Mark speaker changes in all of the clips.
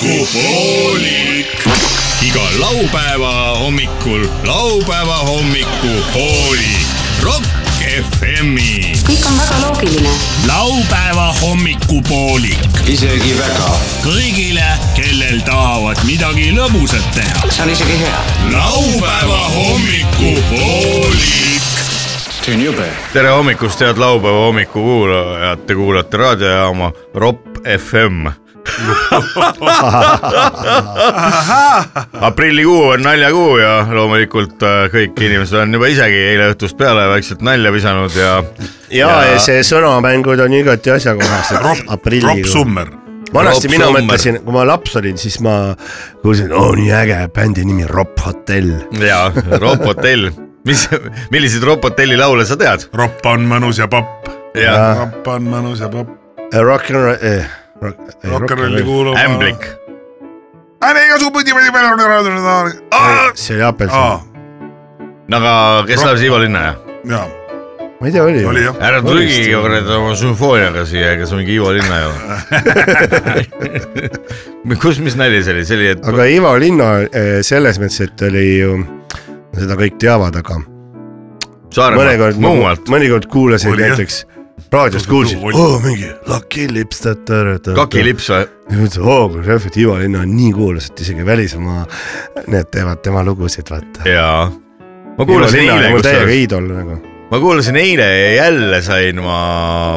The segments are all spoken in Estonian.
Speaker 1: hommikupoolik . iga laupäeva hommikul laupäeva hommikupoolik . Rock FM-i .
Speaker 2: kõik on väga loogiline .
Speaker 1: laupäeva hommikupoolik
Speaker 3: isegi väga .
Speaker 1: kõigile , kellel tahavad midagi lõbusat teha .
Speaker 3: see on isegi hea .
Speaker 1: laupäeva hommikupoolik .
Speaker 3: see on jube .
Speaker 4: tere hommikust , head laupäeva hommiku kuulajad , te kuulate raadiojaama Ropp FM . aprillikuu on naljakuu ja loomulikult äh, kõik inimesed on juba isegi eile õhtust peale vaikselt nalja visanud ja
Speaker 5: ja, ja see sõnamängud on igati asjakohased .
Speaker 6: Rob Summer .
Speaker 5: vanasti
Speaker 4: Rob
Speaker 5: mina
Speaker 4: Sommer.
Speaker 5: mõtlesin , kui ma laps olin , siis ma kuulsin , oo nii äge bändi nimi Ropp Hotell .
Speaker 4: ja Ropp Hotell , mis , milliseid Ropp Hotelli laule sa tead ?
Speaker 6: ropp on mõnus ja papp .
Speaker 4: ja
Speaker 6: ropp on mõnus ja papp .
Speaker 5: Rock n roll , eh .
Speaker 6: rokerolli kuulub .
Speaker 4: Ämblik ..
Speaker 6: ära igasugune pidi .
Speaker 5: see oli Apelsin ,
Speaker 4: no aga kes laulis Ivo Linnaja ?
Speaker 6: jaa ,
Speaker 5: ma ei tea , oli,
Speaker 6: oli . jah .
Speaker 4: ära trügige kuradi oma sümfooniaga siia , ega see mingi Ivo Linnaja ole . kus , mis nali see oli , see oli , et
Speaker 5: aga Ivo Linna eh, selles mõttes , et oli ju , seda kõik teavad , aga mõnikord
Speaker 4: Saaremaalt , Muhumaalt ,
Speaker 5: mõnikord kuulasin
Speaker 6: Oli, jah.
Speaker 5: näiteks raadiost kuulsin , oo mingi Lucky Lips .
Speaker 4: kakilips või ?
Speaker 5: ja mõtlesin , oo kui rehvet Ivo Linna on nii kuulus , et isegi välismaa need teevad tema lugusid , vaata .
Speaker 4: jaa . ma
Speaker 5: Ivo
Speaker 4: kuulasin
Speaker 5: Linna on
Speaker 4: eile ,
Speaker 5: mul
Speaker 4: kus sa
Speaker 5: täiega , iidol nagu .
Speaker 4: ma kuulasin eile ja jälle sain ma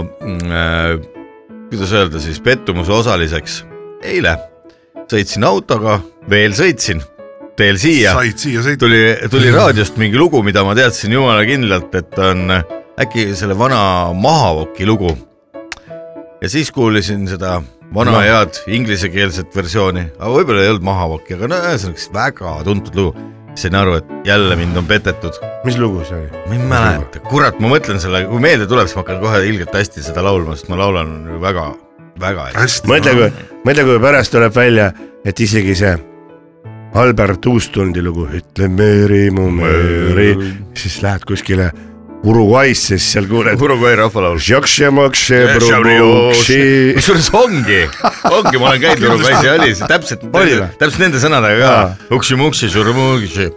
Speaker 4: mm, äh, , kuidas öelda siis , pettumuse osaliseks . eile sõitsin autoga , veel sõitsin , teel siia ,
Speaker 6: said siia sõita .
Speaker 4: tuli , tuli raadiost mingi lugu , mida ma teadsin jumala kindlalt , et on äh, äkki selle vana Mahavoki lugu . ja siis kuulasin seda vana no. head inglisekeelset versiooni , aga võib-olla ei olnud Mahavoki , aga no ühesõnaga siis väga tuntud lugu . sain aru , et jälle mind on petetud .
Speaker 5: mis lugu see oli ?
Speaker 4: ma ei mäleta , kurat , ma mõtlen selle , kui meelde tuleb , siis ma hakkan kohe ilgelt hästi seda laulma , sest ma laulan väga , väga hästi .
Speaker 6: hästi .
Speaker 5: mõtle , kui , mõtle , kui pärast tuleb välja , et isegi see Albert Uustundi lugu , ütle Mööri mu mööri , siis lähed kuskile Uruguay'sse , siis seal kuuled .
Speaker 4: Uruguay rahvalaul .
Speaker 5: ja
Speaker 4: kusjuures ongi , ongi , ma olen käinud Uruguay's ja oli see täpselt
Speaker 5: Oli või? ,
Speaker 4: täpselt nende sõnadega
Speaker 5: Jaa.
Speaker 4: ka . uksi-muksi , surmuksi .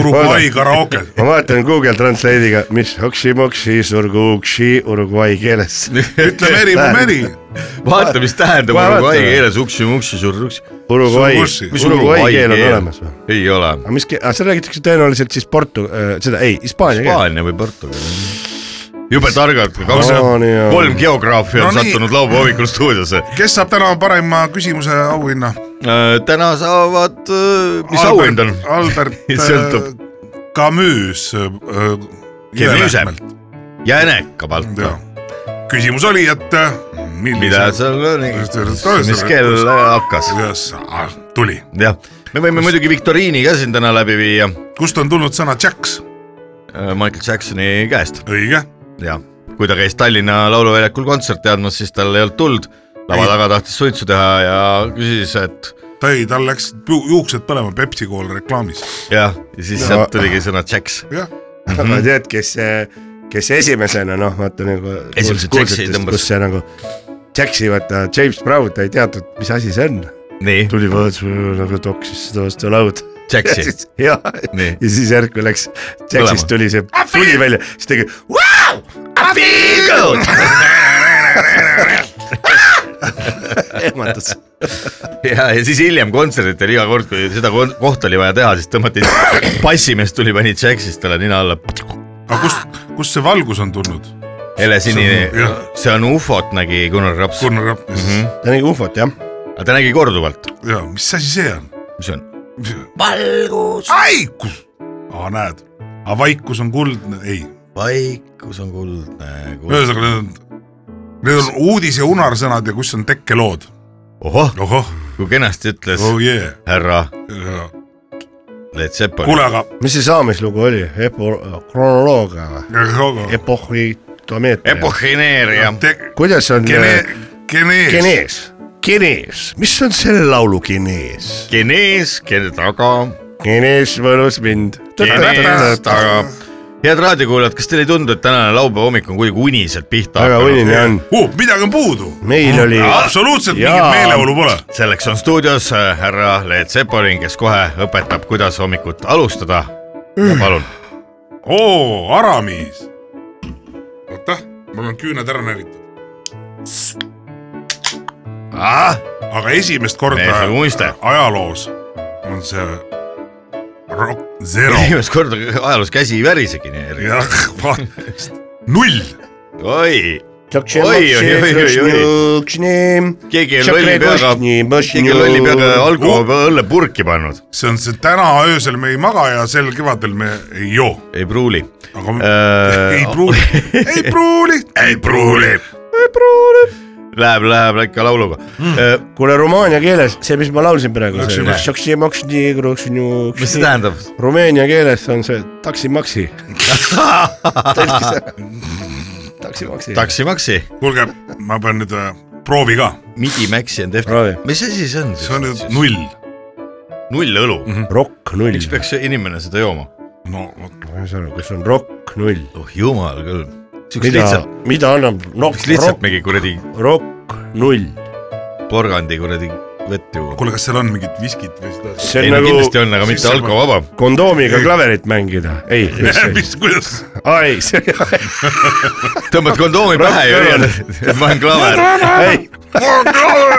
Speaker 6: Uruguay karooke .
Speaker 5: ma vaatan Google Translate'iga , mis hoksi-moksi , surguksi Uruguay keeles .
Speaker 6: ütle meri ,
Speaker 4: Äh.
Speaker 6: mu meri .
Speaker 4: vaata , mis tähendab
Speaker 5: Vaata.
Speaker 4: Uruguay keeles uksi-muksi , surmuksi .
Speaker 5: Uruguay ,
Speaker 6: Surguksi.
Speaker 4: Mis
Speaker 5: Uruguay
Speaker 4: Uruguay
Speaker 5: keel on
Speaker 4: keel?
Speaker 5: olemas või ?
Speaker 4: ei ole .
Speaker 5: aga mis , aga seal räägitakse tõenäoliselt siis portu- , seda ei , hispaania keeles .
Speaker 4: Hispaania või Portugal . jube targad , kaks
Speaker 5: Aa, , nii on.
Speaker 4: kolm geograafi on
Speaker 6: No nii.
Speaker 4: sattunud laupäeva hommikul stuudiosse .
Speaker 6: kes saab täna parima küsimuse auhinna ?
Speaker 4: täna saavad , mis auhind on ?
Speaker 6: Albert
Speaker 4: Sõltub.
Speaker 6: äh, Camus .
Speaker 4: Kemüüse . jänekapalt .
Speaker 6: küsimus oli , et äh,
Speaker 4: mida
Speaker 6: millise .
Speaker 4: seal oli , mis kell hakkas ?
Speaker 6: Ah, tuli ,
Speaker 4: jah , me võime muidugi viktoriini ka siin täna läbi viia
Speaker 6: kust on tulnud sõna Jacks ?
Speaker 4: äh, Michael Jacksoni käest
Speaker 6: õige ,
Speaker 4: ja kui ta käis Tallinna Lauluväljakul kontserti andmas , siis tal ei olnud tuld . lava
Speaker 6: Ei.
Speaker 4: taga tahtis suitsu teha ja küsis , et
Speaker 6: ta ei , tal läks ju- juuksed põlema Pepsi Cola reklaamis .
Speaker 4: jah , ja siis
Speaker 5: No.
Speaker 4: sealt tuligi sõna Jacks .
Speaker 6: jah ,
Speaker 5: aga tead ,
Speaker 4: Mhm.
Speaker 5: kes , kes esimesena noh , vaata nagu
Speaker 4: Esimese Jaxi tõmbas.
Speaker 5: kus see nagu Jaxi vaata James Brown , ta ei teadnud , mis asi see on ,
Speaker 4: nii ,
Speaker 5: tuli vaata nagu toksis seda vastu laud ja
Speaker 4: Jacksi ,
Speaker 5: siis ja,
Speaker 4: Nii.
Speaker 5: ja siis järsku läks , Jaxist
Speaker 4: Põlema.
Speaker 5: tuli see tuli välja , siis tegi vau , ehmatas .
Speaker 4: ja , ja siis hiljem kontserditel iga kord , kui seda kon- kohta oli vaja teha , siis tõmmati bassimees tuli , pani Jacksist talle nina alla .
Speaker 6: aga kust , kust see valgus on tulnud ?
Speaker 4: helesinine
Speaker 6: See on- jah. ,
Speaker 4: see on ufot , nägi Gunnar Raps ,
Speaker 6: Gunnar Rappis mm , -hmm.
Speaker 5: ta nägi ufot jah ,
Speaker 4: aga ta nägi korduvalt ,
Speaker 6: ja mis asi see on ?
Speaker 4: mis see on ?
Speaker 6: valgus . vaikus , aa näed , aga vaikus on kuldne , ei ,
Speaker 4: vaikus on kuldne .
Speaker 6: ühesõnaga need on , need on uudis- ja unarsõnad ja kus on tekkelood .
Speaker 4: ohoh ,
Speaker 6: ohoh ,
Speaker 4: kui kenasti ütles
Speaker 6: oh yeah ,
Speaker 4: härra Leet Seppel .
Speaker 6: kuule aga ,
Speaker 5: mis see saamislugu oli , epo- , kronoloogia või ,
Speaker 6: aga
Speaker 5: epohhi , tomeetria ,
Speaker 4: epohhineerija ,
Speaker 6: te-
Speaker 5: kuidas on äh,
Speaker 6: gene- , genees ,
Speaker 5: genees , genees , mis on selle laulu genees ?
Speaker 4: genees , kelle taga ,
Speaker 5: genees võlus mind .
Speaker 4: genees taga . head raadiokuulajad , kas teile ei tundu , et tänane laupäeva hommik on kuidagi uniselt pihta
Speaker 5: väga unine on .
Speaker 6: uh, . midagi on puudu .
Speaker 5: meil oli ,
Speaker 6: absoluutselt mingit
Speaker 5: Jaa.
Speaker 6: meeleolu pole .
Speaker 4: selleks on stuudios äh, härra Leet Sepolin , kes kohe õpetab , kuidas hommikut alustada . palun ,
Speaker 6: oo , Aramis . oota , mul on küüned ära näritud . aga esimest korda
Speaker 4: Ah! mees on muiste .
Speaker 6: ajaloos on see Rock Zero
Speaker 4: esimest korda ajaloos käsi ei värisegi nii eriti .
Speaker 6: jah , null .
Speaker 4: oi ,
Speaker 5: Oi,
Speaker 4: Oi, oi, oi, oi, keegi on lolli peaga , keegi on lolli peaga alkoholi õllepurki pannud ,
Speaker 6: see on see täna öösel me ei maga ja sel kevadel me ei joo ,
Speaker 4: ei pruuli .
Speaker 6: aga
Speaker 4: Äh,
Speaker 6: ei pruuli , ei pruuli , ei pruuli .
Speaker 4: Läheb , läheb ikka lauluga mm. .
Speaker 5: kuule , rumaania keeles , see , mis ma laulsin praegu , see
Speaker 6: Läksime.
Speaker 5: Šokši-mokši-nii, kruksni-nii.
Speaker 4: mis see tähendab ?
Speaker 5: Rumeenia keeles on see taksimaksi . taksimaksi .
Speaker 4: taksimaksi ,
Speaker 6: kuulge , ma pean nüüd äh, proovi ka ,
Speaker 4: midimäksi on
Speaker 5: Proovi.
Speaker 4: tehtud . mis asi see on siis ?
Speaker 6: see on nüüd null . Mhm.
Speaker 4: null õlu mm . -hmm.
Speaker 5: rokk null
Speaker 4: miks . peaks see inimene seda jooma ?
Speaker 6: no vot,
Speaker 5: ma ei saa aru , kus on rokk null .
Speaker 4: oh jumal küll , siukest
Speaker 5: mida
Speaker 4: lihtsalt ,,
Speaker 5: mida annab nokk
Speaker 4: siukest , lihtsalt
Speaker 5: rokk ,
Speaker 4: mingi kuradi
Speaker 5: rokk null .
Speaker 4: porgandi kuradi vett juua .
Speaker 6: kuule , kas seal on mingit viskit või seda ?
Speaker 5: see
Speaker 4: ei
Speaker 5: on
Speaker 4: no
Speaker 5: nagu
Speaker 4: kindlasti on , aga mitte
Speaker 6: sisse-
Speaker 4: alkovaba .
Speaker 5: kondoomiga klaverit mängida . ei , mis see
Speaker 6: mis , kuidas ?
Speaker 5: aa ei , see
Speaker 4: tõmbad kondoomi pähe ja
Speaker 5: Rock-
Speaker 4: hüüad , et ma olen klaver .
Speaker 5: ei .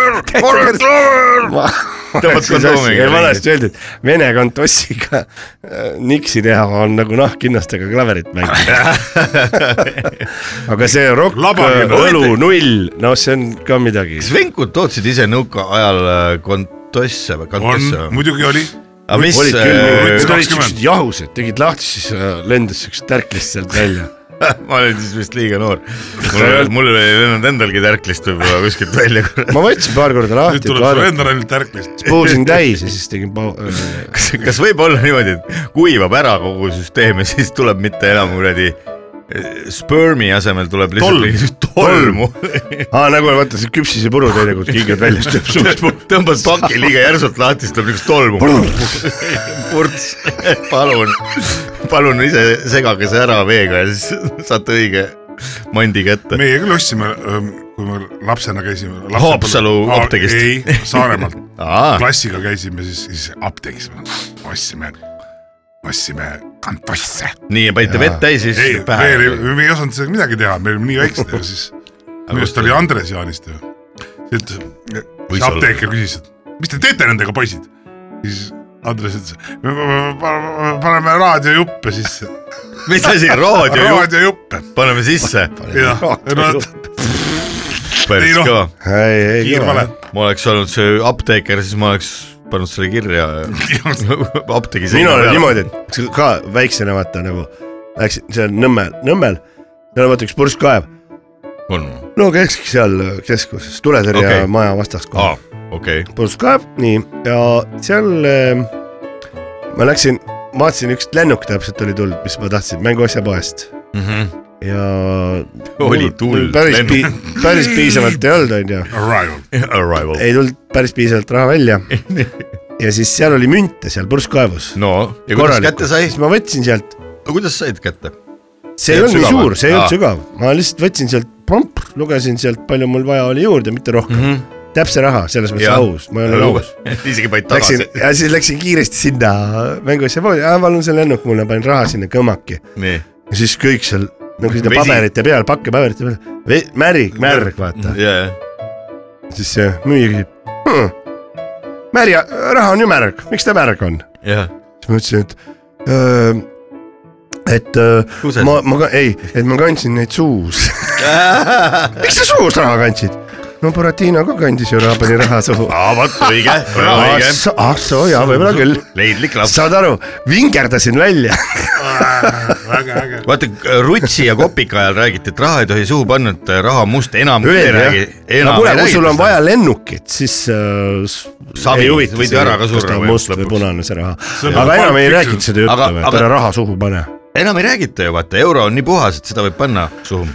Speaker 4: Tõmbad kondoomiga
Speaker 5: ei ,
Speaker 4: ringi.
Speaker 5: vanasti öeldi , et vene kontossiga äh, niksi teha on nagu nahkhinnastega klaverit mängida . aga see rokk ,
Speaker 6: Labaline.
Speaker 5: õlu null , no see on ka midagi .
Speaker 4: kas venkud tootsid ise nõukaajal äh, kontosse või
Speaker 6: on
Speaker 4: kantosse , või ?
Speaker 6: muidugi oli .
Speaker 4: aga mis
Speaker 5: olid küll ,
Speaker 4: äh,
Speaker 6: Null-
Speaker 5: need olid
Speaker 6: 20.
Speaker 5: siuksed jahused , tegid lahti , siis äh, lendas siukest tärklist sealt välja .
Speaker 4: ma olin siis vist liiga noor . mul , mul ei lennanud endalgi tärklist võib-olla kuskilt välja .
Speaker 5: ma võtsin paar korda
Speaker 6: nüüd
Speaker 5: lahti ,
Speaker 6: tuleb sulle endale ainult tärklist .
Speaker 5: puusin täis ja siis tegin äh, pau- .
Speaker 4: kas , kas võib olla niimoodi , et kuivab ära kogu süsteem ja siis tuleb mitte enam kuradi eh, spermi asemel tuleb
Speaker 6: Tolm.
Speaker 4: lihtsalt mingisugust tolmu .
Speaker 5: aa , nagu vaata see küpsisepuru teinekord kiigad välja , siis tuleb suust purk .
Speaker 4: tõmbad paki liiga järsult lahti , siis tuleb niisugust tolmu . purts , palun , palun ise segage see ära veega ja siis saate õige mandi kätte .
Speaker 6: meie küll ostsime , kui me lapsena käisime .
Speaker 4: Haapsalu apteegist. Ah.
Speaker 6: ei , Saaremaalt .
Speaker 4: aa ,
Speaker 6: klassiga käisime siis , siis apteegis , ostsime , ostsime kantosse .
Speaker 4: nii ja panite vett täis ja
Speaker 6: ei
Speaker 4: siis , pähe .
Speaker 6: me ei osanud sellega midagi teha , me olime nii väiksed ja siis , minu arust oli Andres Jaanist ju . ütles ,
Speaker 4: Võis
Speaker 6: siis apteeker küsis , et mis te teete nendega , poisid ? siis Andres ütles , me pa- pa- paneme raadiojuppe sisse ,
Speaker 4: mis asi , raadiojupp ,
Speaker 6: raadiojuppe .
Speaker 4: paneme sisse .
Speaker 6: jah , no Ei
Speaker 4: päris
Speaker 6: noh.
Speaker 4: kõva .
Speaker 5: ei , ei
Speaker 6: kiirvale .
Speaker 4: ma oleks olnud see apteeker , siis ma oleks pannud selle kirja apteegi
Speaker 5: mina olen . niimoodi , et üks ka väiksena vaata nagu läksin seal Nõmmel , Nõmmel , seal on vaata üks purskkaev ,
Speaker 4: on ,
Speaker 5: no käikski seal keskuses , tuletõrje
Speaker 4: Okei.
Speaker 5: okay. maja vastas kohe
Speaker 4: aa , okei ,
Speaker 5: purskkaev , nii , ja seal äh, ma läksin , vaatasin üks lennuk täpselt oli tulnud , mis ma tahtsin mänguasjapoest ja
Speaker 4: Mhm. Oli
Speaker 5: mul-
Speaker 4: tull
Speaker 5: mul päris
Speaker 4: lennuk.
Speaker 5: pi- , päris piisavalt ei olnud , onju ,
Speaker 6: Arrival ,
Speaker 4: arrival ,
Speaker 5: ei tulnud päris piisavalt raha välja ja siis seal oli münte seal purskkaevus .
Speaker 4: no ja kuidas kätte sai
Speaker 5: siis , ma võtsin sealt
Speaker 4: kuidas said kätte ?
Speaker 5: see
Speaker 4: Ei
Speaker 5: ei olnud nii
Speaker 4: sügaval?
Speaker 5: suur , see ei
Speaker 4: Aa.
Speaker 5: olnud sügav , ma lihtsalt võtsin sealt , pomp , lugesin sealt , palju mul vaja oli juurde , mitte rohkem mm . -hmm. täpse raha , selles mõttes
Speaker 4: Jaa.
Speaker 5: aus , ma ei ole nõus .
Speaker 4: isegi panid
Speaker 5: Läksin
Speaker 4: tagasi .
Speaker 5: ja siis läksin kiiresti sinna mänguasja poodi , palun see lennuk mulle , panin raha sinna kõmmaki
Speaker 4: nii ,
Speaker 5: ja siis kõik seal nagu nende
Speaker 4: Vesi.
Speaker 5: paberite peal , pakkepaberite peal , märg , märg , vaata ,
Speaker 4: jajah .
Speaker 5: siis see müüja küsib hm, . märja , raha on ju märg , miks ta märg on ?
Speaker 4: jah ,
Speaker 5: siis ma ütlesin , et öö, et öö,
Speaker 4: Kusagil.
Speaker 5: ma , ma , ei , et ma kandsin neid suus . miks sa suus raha kandsid ? no Buratino ka kandis ju raha , pani raha suhu .
Speaker 4: vot õige , väga õige ,
Speaker 5: ah soo jaa , võib-olla küll .
Speaker 4: leidlik laps .
Speaker 5: saad aru , vingerdasin välja .
Speaker 6: Äh, väga äge .
Speaker 4: vaata , Rutsi ja Kopika ajal räägiti , et raha ei tohi suhu panna , et äh, raha on must , enam ei räägi .
Speaker 5: no kuule , kui sul on vaja lennukit , siis äh, s-
Speaker 4: Savi,
Speaker 5: ei huvita
Speaker 4: võid ju ära ka
Speaker 5: kas ta
Speaker 4: surra
Speaker 5: on
Speaker 4: või-
Speaker 5: must või
Speaker 4: lõpuks.
Speaker 5: punane see raha .
Speaker 6: See on
Speaker 5: aga
Speaker 6: nagu
Speaker 5: enam ei
Speaker 6: Pulp
Speaker 5: rääkinud
Speaker 6: Fiction.
Speaker 5: seda juttu
Speaker 4: Aga- ,
Speaker 5: et
Speaker 4: aga-
Speaker 5: ära raha suhu pane .
Speaker 4: enam ei räägita ju , vaata , euro on nii puhas , et seda võib panna suhu .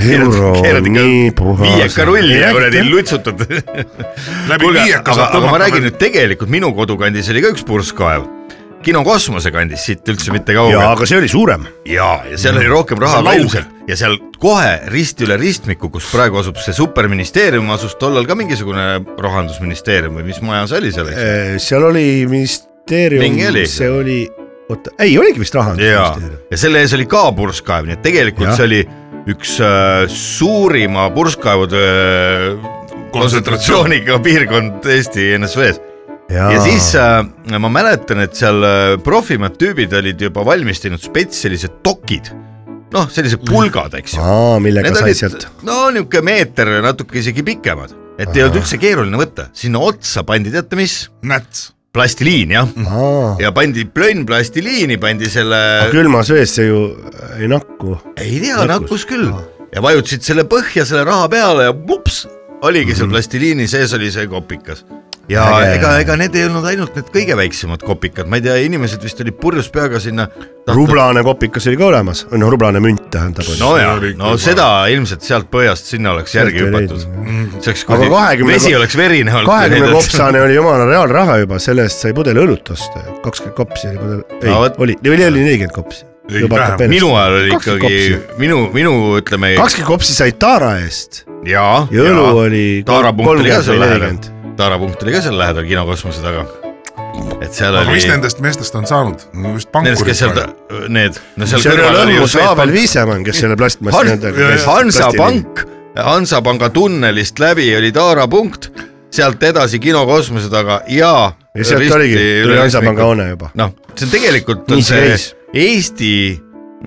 Speaker 5: euro on nii puhas .
Speaker 4: viieka rulli ja kuradi lutsutad .
Speaker 6: läbi
Speaker 4: kuulge ,
Speaker 6: viieka
Speaker 4: aga ,
Speaker 6: saab
Speaker 4: aga ma
Speaker 6: tõmmata .
Speaker 4: räägin nüüd tegelikult minu kodukandis oli ka üks purskkaev , kino Kosmose kandis , siit üldse mitte
Speaker 5: ja
Speaker 4: kaugel .
Speaker 5: aga see oli suurem .
Speaker 4: ja , ja seal oli rohkem raha
Speaker 6: See on
Speaker 4: vaimselt ja seal kohe risti üle ristmiku , kus praegu asub see superministeerium , asus tollal ka mingisugune rahandusministeerium või mis maja see oli seal , eks .
Speaker 5: Äh, seal oli ministeerium
Speaker 4: Mingi oli. ,
Speaker 5: see oli , oota , ei oligi vist
Speaker 4: ja
Speaker 5: rahandusministeerium .,
Speaker 4: ja selle ees oli ka purskkaev , nii et tegelikult
Speaker 5: Jah.
Speaker 4: ja. see oli üks äh, suurima purskkaevude äh,
Speaker 6: kontsentratsioon .
Speaker 4: kontsentratsiooniga piirkond Eesti NSV-s . ja siis äh, ma mäletan , et seal äh, profimad tüübid olid juba valmis teinud spets sellised dokid , noh , sellised pulgad , eks ju .
Speaker 5: aa , millega sai sealt .
Speaker 4: no niisugune meeter ja natuke isegi pikemad , et ei
Speaker 5: Ahah.
Speaker 4: olnud üldse keeruline võtta , sinna otsa pandi , teate mis ,
Speaker 6: näts .
Speaker 4: plastiliin jah ,
Speaker 5: aa ,
Speaker 4: ja pandi plönn plastiliini , pandi selle ,
Speaker 5: külmas vees see ju ei nakku .
Speaker 4: ei tea ,
Speaker 5: nakkus.
Speaker 4: nakkus küll ja vajutasid selle põhja selle raha peale ja vups , oligi seal plastiliini sees oli see kopikas . ja
Speaker 5: Mhm. Äge.
Speaker 4: ega , ega need ei olnud ainult need kõige väiksemad kopikad , ma ei tea , inimesed vist olid purjus peaga sinna .
Speaker 5: rublane kopikas oli ka olemas , no rublane münt tähendab .
Speaker 4: no ja , no seda ilmselt sealt põhjast sinna oleks järgi hüpatud . see oleks
Speaker 5: Aga
Speaker 4: kuidagi ,
Speaker 5: 20
Speaker 4: vesi oleks verine olnud .
Speaker 5: kahekümne . kopsane oli jumala reaalraha juba , selle eest sai pudel õlut osta ju , kakskümmend kopsi oli pudel , ei
Speaker 4: No vot.
Speaker 5: oli , oli nelikümmend kopsi .
Speaker 6: Ei, vähem.
Speaker 4: minu ajal oli ikkagi minu , minu ütleme
Speaker 5: kakskümmend kopsi sai taara eest
Speaker 4: ja ,
Speaker 5: ja õlu oli
Speaker 4: Taara punkt oli ka
Speaker 5: kolmkümmend
Speaker 4: seal
Speaker 5: või
Speaker 4: lähedal
Speaker 5: nelikümmend .,
Speaker 4: Taara punkt oli ka seal lähedal kinokosmose taga . et seal
Speaker 6: aga
Speaker 4: oli
Speaker 6: mis . nendest meestest on saanud ? just
Speaker 4: Need ,
Speaker 6: pankurid
Speaker 4: kes seal , need , no seal
Speaker 5: seal oli
Speaker 4: kõrval oli ju
Speaker 5: lõmmus Aavel
Speaker 4: Swedbank ,
Speaker 5: Viisemann , kes selle plastmassi
Speaker 4: Han- , Hansapank , Hansapanga tunnelist läbi oli Taara punkt , sealt edasi Kino Kosmose taga ja .
Speaker 5: ja sealt oligi , tuli Hansapanga . hoone juba .
Speaker 4: noh , see on tegelikult
Speaker 5: Nii
Speaker 4: on
Speaker 5: see
Speaker 4: see
Speaker 5: käis.
Speaker 4: Eesti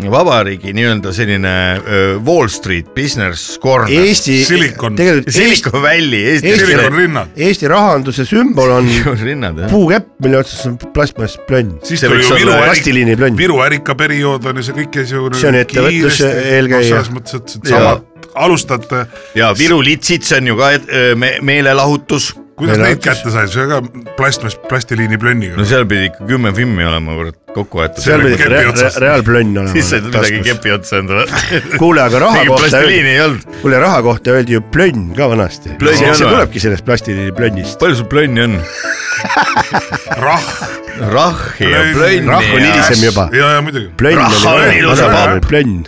Speaker 4: Vabariigi nii-öelda selline öö, Wall Street business corner ,
Speaker 5: Eesti ,
Speaker 6: Silikon-
Speaker 5: tegelikult Eesti ,
Speaker 4: Silicon Valley , Eesti
Speaker 5: Eesti-
Speaker 6: Silikon rinnad .
Speaker 5: Eesti rahanduse sümbol on
Speaker 4: rinnad jah .
Speaker 5: puukepp , mille otsas on plastmassplönn .
Speaker 6: siis
Speaker 4: See
Speaker 6: tuli
Speaker 4: võiks
Speaker 6: ju
Speaker 4: olla
Speaker 6: Viru ärik ,
Speaker 5: plastiliini plönn .
Speaker 6: Viru ärika periood on ju see kõik käis ju .
Speaker 5: See on ettevõtluse eelkäija.
Speaker 6: selles mõttes , et et samad alustate ,
Speaker 4: ja Viru litsits on ju ka et, öö, me, meelelahutus .
Speaker 6: kuidas
Speaker 5: Meil
Speaker 6: neid
Speaker 5: hakkas-
Speaker 6: kätte sai , see ka plastmass , plastiliini
Speaker 4: no
Speaker 6: plönniga .
Speaker 4: seal pidi ikka kümme filmi olema kurat kokku aetud .
Speaker 5: seal pidi
Speaker 6: kepi
Speaker 5: rea-
Speaker 6: otsas.
Speaker 5: rea- reaalplönn olema .
Speaker 4: siis said midagi kepi otsa endale .
Speaker 5: kuule , aga raha
Speaker 4: mingit
Speaker 5: kohta ,
Speaker 4: plastiliini ei olnud .
Speaker 5: kuule raha kohta öeldi ju plönn ka vanasti .
Speaker 4: Plönn
Speaker 5: see
Speaker 4: on
Speaker 5: see
Speaker 4: või?
Speaker 5: tulebki sellest plastiliini plönnist .
Speaker 4: palju sul plönni on ?
Speaker 6: rahv .
Speaker 4: rahhi ja
Speaker 6: Plönn.
Speaker 4: plönni .
Speaker 5: rahv on hilisem juba .
Speaker 6: ja , ja muidugi .
Speaker 5: plönn
Speaker 4: Raha on ilus ja
Speaker 5: oli
Speaker 4: popp.
Speaker 5: plönn .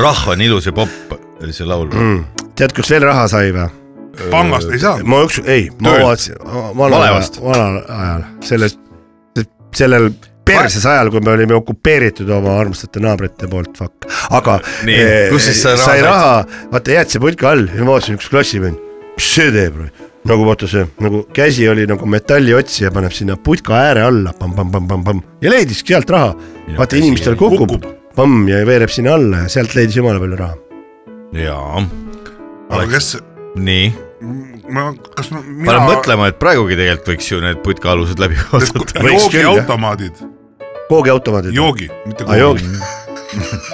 Speaker 4: rahv on ilus ja popp , oli see laul .
Speaker 5: Mm. Hmm. tead , kus veel raha sai või ?
Speaker 6: pangast ei saanud .
Speaker 5: Ah, ma üks , ei , ma
Speaker 4: Töölt.
Speaker 5: vaatasin , vanal
Speaker 4: Malevast.
Speaker 5: ajal , vanal ajal , selles , sellel perses ajal , kui me olime okupeeritud oma armsate naabrite poolt , fuck . aga
Speaker 4: Nii,
Speaker 5: eh,
Speaker 4: kus siis sa raha
Speaker 5: sai
Speaker 4: said?
Speaker 5: raha , vaata jääd see pulka all ja ma vaatasin üks klassivend , mis see teeb , nagu vaata see nagu käsi oli nagu metalliots ja paneb sinna putka ääre alla pamm-pamm-pamm-pamm ja leidiski sealt raha . vaata
Speaker 4: käsi
Speaker 5: inimestel
Speaker 4: jäi-
Speaker 5: kukub
Speaker 6: kukub. ,
Speaker 5: pamm ja veereb sinna alla ja sealt leidis jumala palju raha .
Speaker 4: jaa ,
Speaker 6: aga kes ,
Speaker 4: nii .
Speaker 6: ma , kas ma,
Speaker 4: ma
Speaker 6: mina
Speaker 4: olen . mõtlema , et praegugi tegelikult võiks ju need putkaalused läbi vaadata .
Speaker 5: Võiks küll, jah.
Speaker 6: joogiautomaadid ,
Speaker 5: koogiautomaadid .
Speaker 6: joogi , mitte
Speaker 5: aa , joogid .
Speaker 4: Mm.